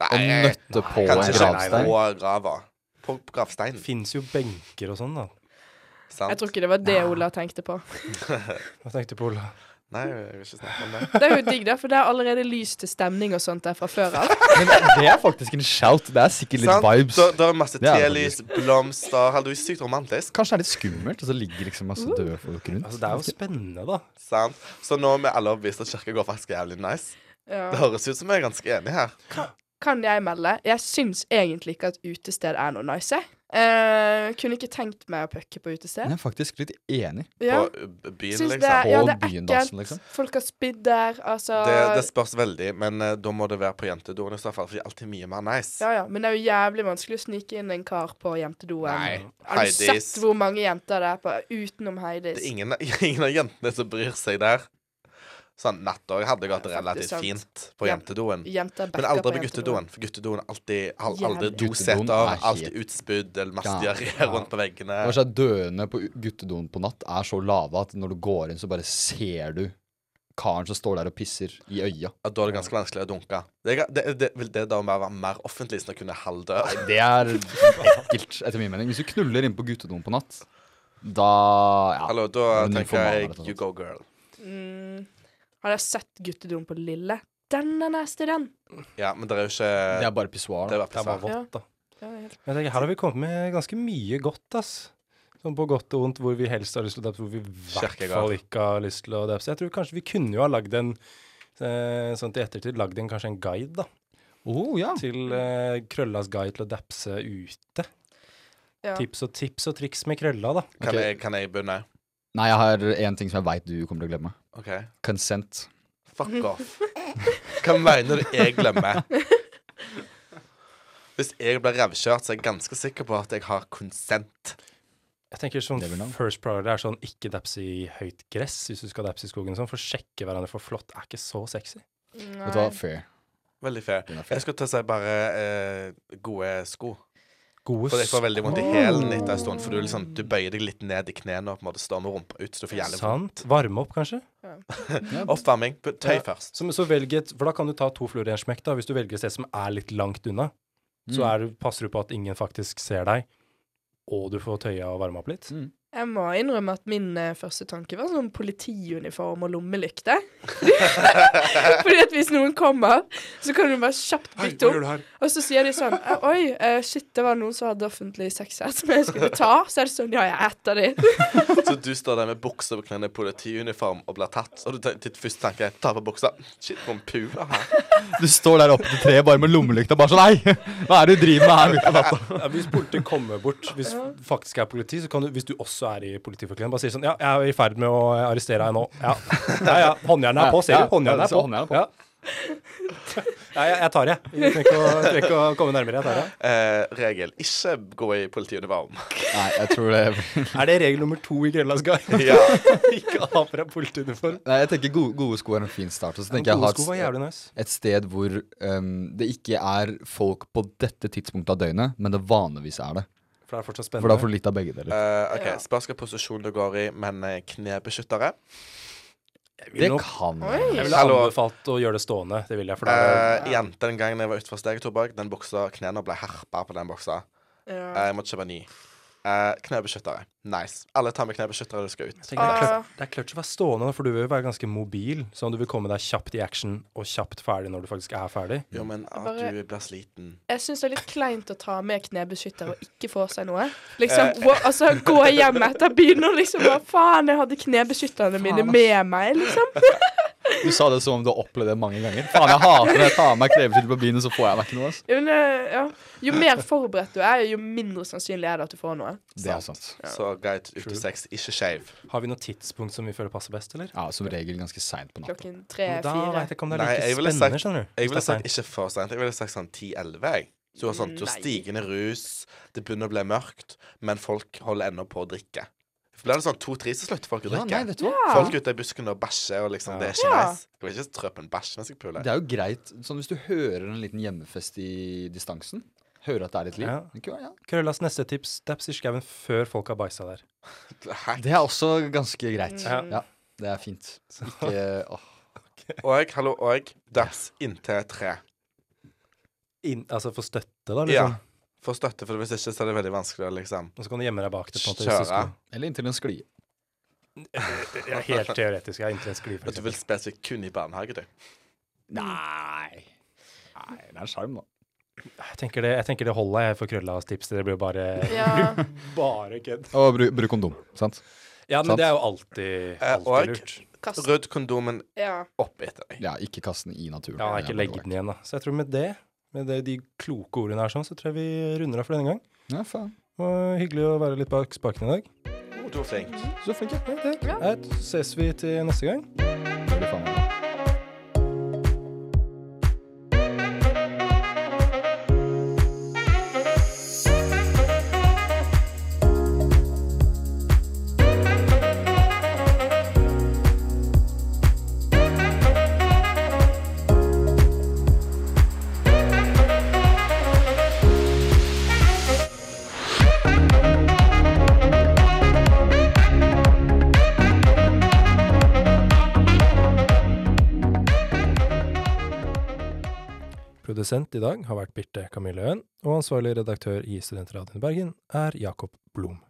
Nei,
Å nøtte på en
kanskje
nei,
ikke
nei,
gravstein?
på grava. På gravsteinen,
Fins jo benker og sånn, da.
Jeg
sant?
tror ikke det var det Ola tenkte på.
Hva tenkte du på, Ola?
Nei, jeg vil ikke snakke om det.
Det er jo digg, da, for det er allerede lys til stemning og sånt der fra før av.
Men det er faktisk en shout. Det er sikkert litt
Sant?
vibes.
Da, da er masse
Det er det
telys, blomster Hallo, det er sykt romantisk.
Kanskje det er litt skummelt, og så ligger liksom masse døde folk rundt.
Altså, det er jo spennende, da.
Sant? Så nå er vi alle overbevist at kirkegård faktisk er jævlig nice. Det
Ja.
høres ut som vi er ganske enige her.
Kan jeg melde? Jeg syns egentlig ikke at utested er noe nice. jeg. Eh, kunne ikke tenkt meg å pucke på
Jeg
utested.
er faktisk litt enig.
Ja.
På uh, byen,
Syns det,
liksom.
er- ja,
På
det er
byen Dassen,
ekkelt.
liksom.
Folk har spydd der, altså.
Det, det spørs veldig, men eh, da må det være på jentedoen i så fall, for de er alltid mye mer nice.
Ja, ja, men det er jo jævlig vanskelig å snike inn en kar på jentedoen.
Nei,
Har du
Heidis.
sett hvor mange jenter det er på utenom Heidis?
Det er ingen, ingen av jentene som bryr seg der. Sånn nattdag hadde jeg hatt det
Ja, faktisk
relativt
sant.
fint på
Ja.
jentedoen.
Jenter
Men
backer
aldri på
jentedoen.
guttedoen, for guttedoen er alltid, har aldri
Jævlig.
doseter,
Guttedoen er
alltid
helt-
utspydd, eller masse
Ja,
diaré
ja.
rundt på veggene.
Kanskje døende på guttedoen på natt er så lave at når du går inn, så bare ser du karen som står der og pisser i øya.
Ja, Da er det ganske vanskelig å dunke. Det, er ga- det, det, vil det da være mer offentlig, sånn at jeg kunne halv dø?
Det er ekkelt, etter min mening. Hvis du knuller inn på guttedoen på natt, da Ja.
Hallo, da
Men du får
tenker
male
jeg
det sånn.
you go, girl.
Mm. Har dere sett guttedoen på Lille? Den er nasty, den.
Ja, men det er jo ikke
Det er bare pissoar.
eh, Det
da.
er bare
Det er bare
pissar.
vått, da.
Ja, det er helt-
Men Jeg tenker, her har vi kommet med ganske mye godt, ass. Sånn på godt og vondt, hvor vi helst har lyst til å dabse, hvor vi i hvert
Kirkegård.
fall ikke har lyst til å dabse. Jeg tror kanskje vi kunne jo ha lagd en eh, sånn til ettertid, lagd en kanskje en guide, da.
Oh, ja.
Til eh, Krøllas guide til å dabse ute.
Ja.
Tips og tips og triks med Krølla, da.
Kan,
Ok.
jeg, kan jeg begynne?
Nei, jeg har én ting som jeg veit du kommer til å glemme.
OK.
Consent.
Fuck off. Hva mener du jeg glemmer? Hvis jeg blir revkjørt, så er jeg ganske sikker på at jeg har konsent.
Jeg tenker sånn
Never know.
first priority er sånn ikke dapse i høyt gress hvis du skal dapse i skogen og sånn, for å sjekke hverandre for flått er ikke så sexy.
mm,
Vet du hva, fair.
Veldig fair.
Den er fair.
Jeg skulle til å si bare eh, gode sko.
Gode
For jeg får veldig vondt i hælen etter en stund. For du, liksom, du bøyer deg litt ned i knærne og på en måte står med rumpa ut. Så du får jævlig vondt.
Sant. Varme opp, kanskje?
Ja,
Oppvarming. Put- Tøy
Ja.
først.
Så, så velg et, for da kan du ta to fluer i en smekk, da. Hvis du velger et sted som er litt langt unna, så
Mm.
er, du- passer du på at ingen faktisk ser deg, og du får tøya og varme opp litt.
Mm.
Jeg må innrømme at min eh, første tanke var sånn politiuniform og lommelykte. Fordi at hvis noen kommer, så kan du bare kjapt bytte opp.
her?
Og så sier de sånn eh, Oi, eh, shit, det var noen som hadde offentlig sex her som jeg skulle ta. Så er det sånn Ja, jeg er etter de.
Så du står der med buksa på knærne, politiuniform og blir tatt. Og du tenker, ditt første tanke er ta på buksa. Shit, for en pula her.
Du står der oppe til treet bare med lommelykta bare sånn Nei! Hva er det du driver med her midt på natta?
Ja, hvis politiet kommer bort, hvis f- faktisk er politi, så kan du, hvis du også er i politiforkledning, bare si sånn Ja, jeg er i ferd med å arrestere deg nå. Ja, ja. ja håndjernet er på, ser
Ja,
du. Håndjernet
ja,
er
så
på.
håndjernet er på.
Ja. Ja, jeg, jeg tar det. Du trenger ikke å- trenger ikke å komme nærmere. Jeg tar det.
Eh, regel ikke gå i politiuniform.
Nei, jeg tror det
Er det regel nummer to i Grellas guide?
ja.
ikke ha på deg politiuniform.
Nei, jeg tenker gode, gode sko er en fin start. Og så tenker jeg
Gode
ha
sko var
et,
jævlig nice.
et sted hvor øhm, det ikke er folk på dette tidspunktet av døgnet, men det vanligvis er det.
For det er fortsatt
For da
spennende.
får du litt av begge deler.
Eh, OK,
Ja.
spørs hvilken posisjon du går i, men eh, knebeskyttere.
Det kan være.
Jeg
Oi.
ville
Hallo.
anbefalt å gjøre det stående. Det ville jeg, for da er det
Uh, jente den gangen jeg var utenfor steget tobakk, den buksa, knærne ble herpa på den buksa. Eh,
Ja.
jeg måtte kjøpe ny. Eh, knebeskyttere. Nice. Alle tar med knebeskyttere når du skal ut.
jeg tenker det er
Ah.
klørt- det er klørt å være stående, da, for du vil jo være ganske mobil. Sånn du vil komme deg kjapt i action og kjapt ferdig når du faktisk er ferdig.
Jo, men at
bare-
du blir sliten.
Jeg syns det er litt kleint å ta med knebeskytter og ikke få seg noe. Liksom, hva- altså Gå hjem etter byen og liksom bare Faen, jeg hadde knebeskytterne mine med meg, liksom.
Du sa det som om du har opplevd det mange ganger. Faen, jeg hater når jeg tar av meg klebeskytter på byen, og så får jeg meg ikke noe. ass.
Jo, men, eh, ja. jo mer forberedt du er, jo mindre sannsynlig er det at du får noe.
Det er sant.
Så guide ut til sex, ikke shave.
Har vi noe tidspunkt som vi føler passer best, eller?
Ja, som regel ganske seint på natta.
Klokken tre-fire.
Da veit jeg ikke om det er
Nei,
like
jeg ville
spennende,
sagt-
skjønner du.
Jeg ville sagt
Steffen.
ikke for sent. Jeg ville sagt sånn 10-11. jeg. Så Du har sånn, du har
Nei.
stigende rus, det begynner å bli mørkt, men folk holder ennå på å drikke. For blir det sånn to-tre, så slutter folk å
Ja,
drikke.
nei, vet du hva?
Folk ute i buskene og bæsjer, og liksom,
Ja.
det er ikke
Ja.
nice. Jeg vil ikke trø på en bæsj mens jeg puler.
Det er jo greit sånn hvis du hører en liten hjemmefest i distansen. Hører at det er litt liv.
Ja.
det kan være, ja.
Krøllas neste tips daps i skauen før folk har bæsja der.
Hack.
Det er også ganske greit.
Ja.
Ja, det er fint. Ikke åh.
Og, hallo, og daps inntil tre.
Inn, altså for støtte, da,
Ja.
liksom.
Få støtte, for hvis ikke så er det veldig vanskelig å liksom
Og så kan du gjemme deg bak det. på en måte.
Kjøre.
Hvis du skal.
Eller inntil en sklie.
Jeg er helt teoretisk. Jeg er inntil en skli, for
At du vil
eksempel.
spesifikt kun i barnehage, du.
Nei. Nei, det er en sjarm, da.
Jeg tenker det, jeg tenker det holder jeg for Krøllas tips. Det blir jo bare,
Ja.
bare kødd.
Og bruk, bruk kondom, sant?
Ja, men
Sant.
det er jo alltid,
Eh,
alltid
og-
lurt.
Kast.
Rudd kondomen
Ja.
opp etter deg.
Ja, ikke kaste den i naturen.
Ja, ikke legge den igjen, da. Så jeg tror med det, med det, de kloke ordene her sånn, så tror jeg vi runder av for denne gang.
Ja, faen.
Og hyggelig å være litt bak spaken i dag.
Å, Du var flink.
Så flink, ja. Ja, takk.
Ja.
Nei, Så ses vi til neste gang.
Det blir faen meg.
Produsent i dag har vært Birte Camille Øen, og ansvarlig redaktør i Studentradioen i Bergen er Jakob Blom.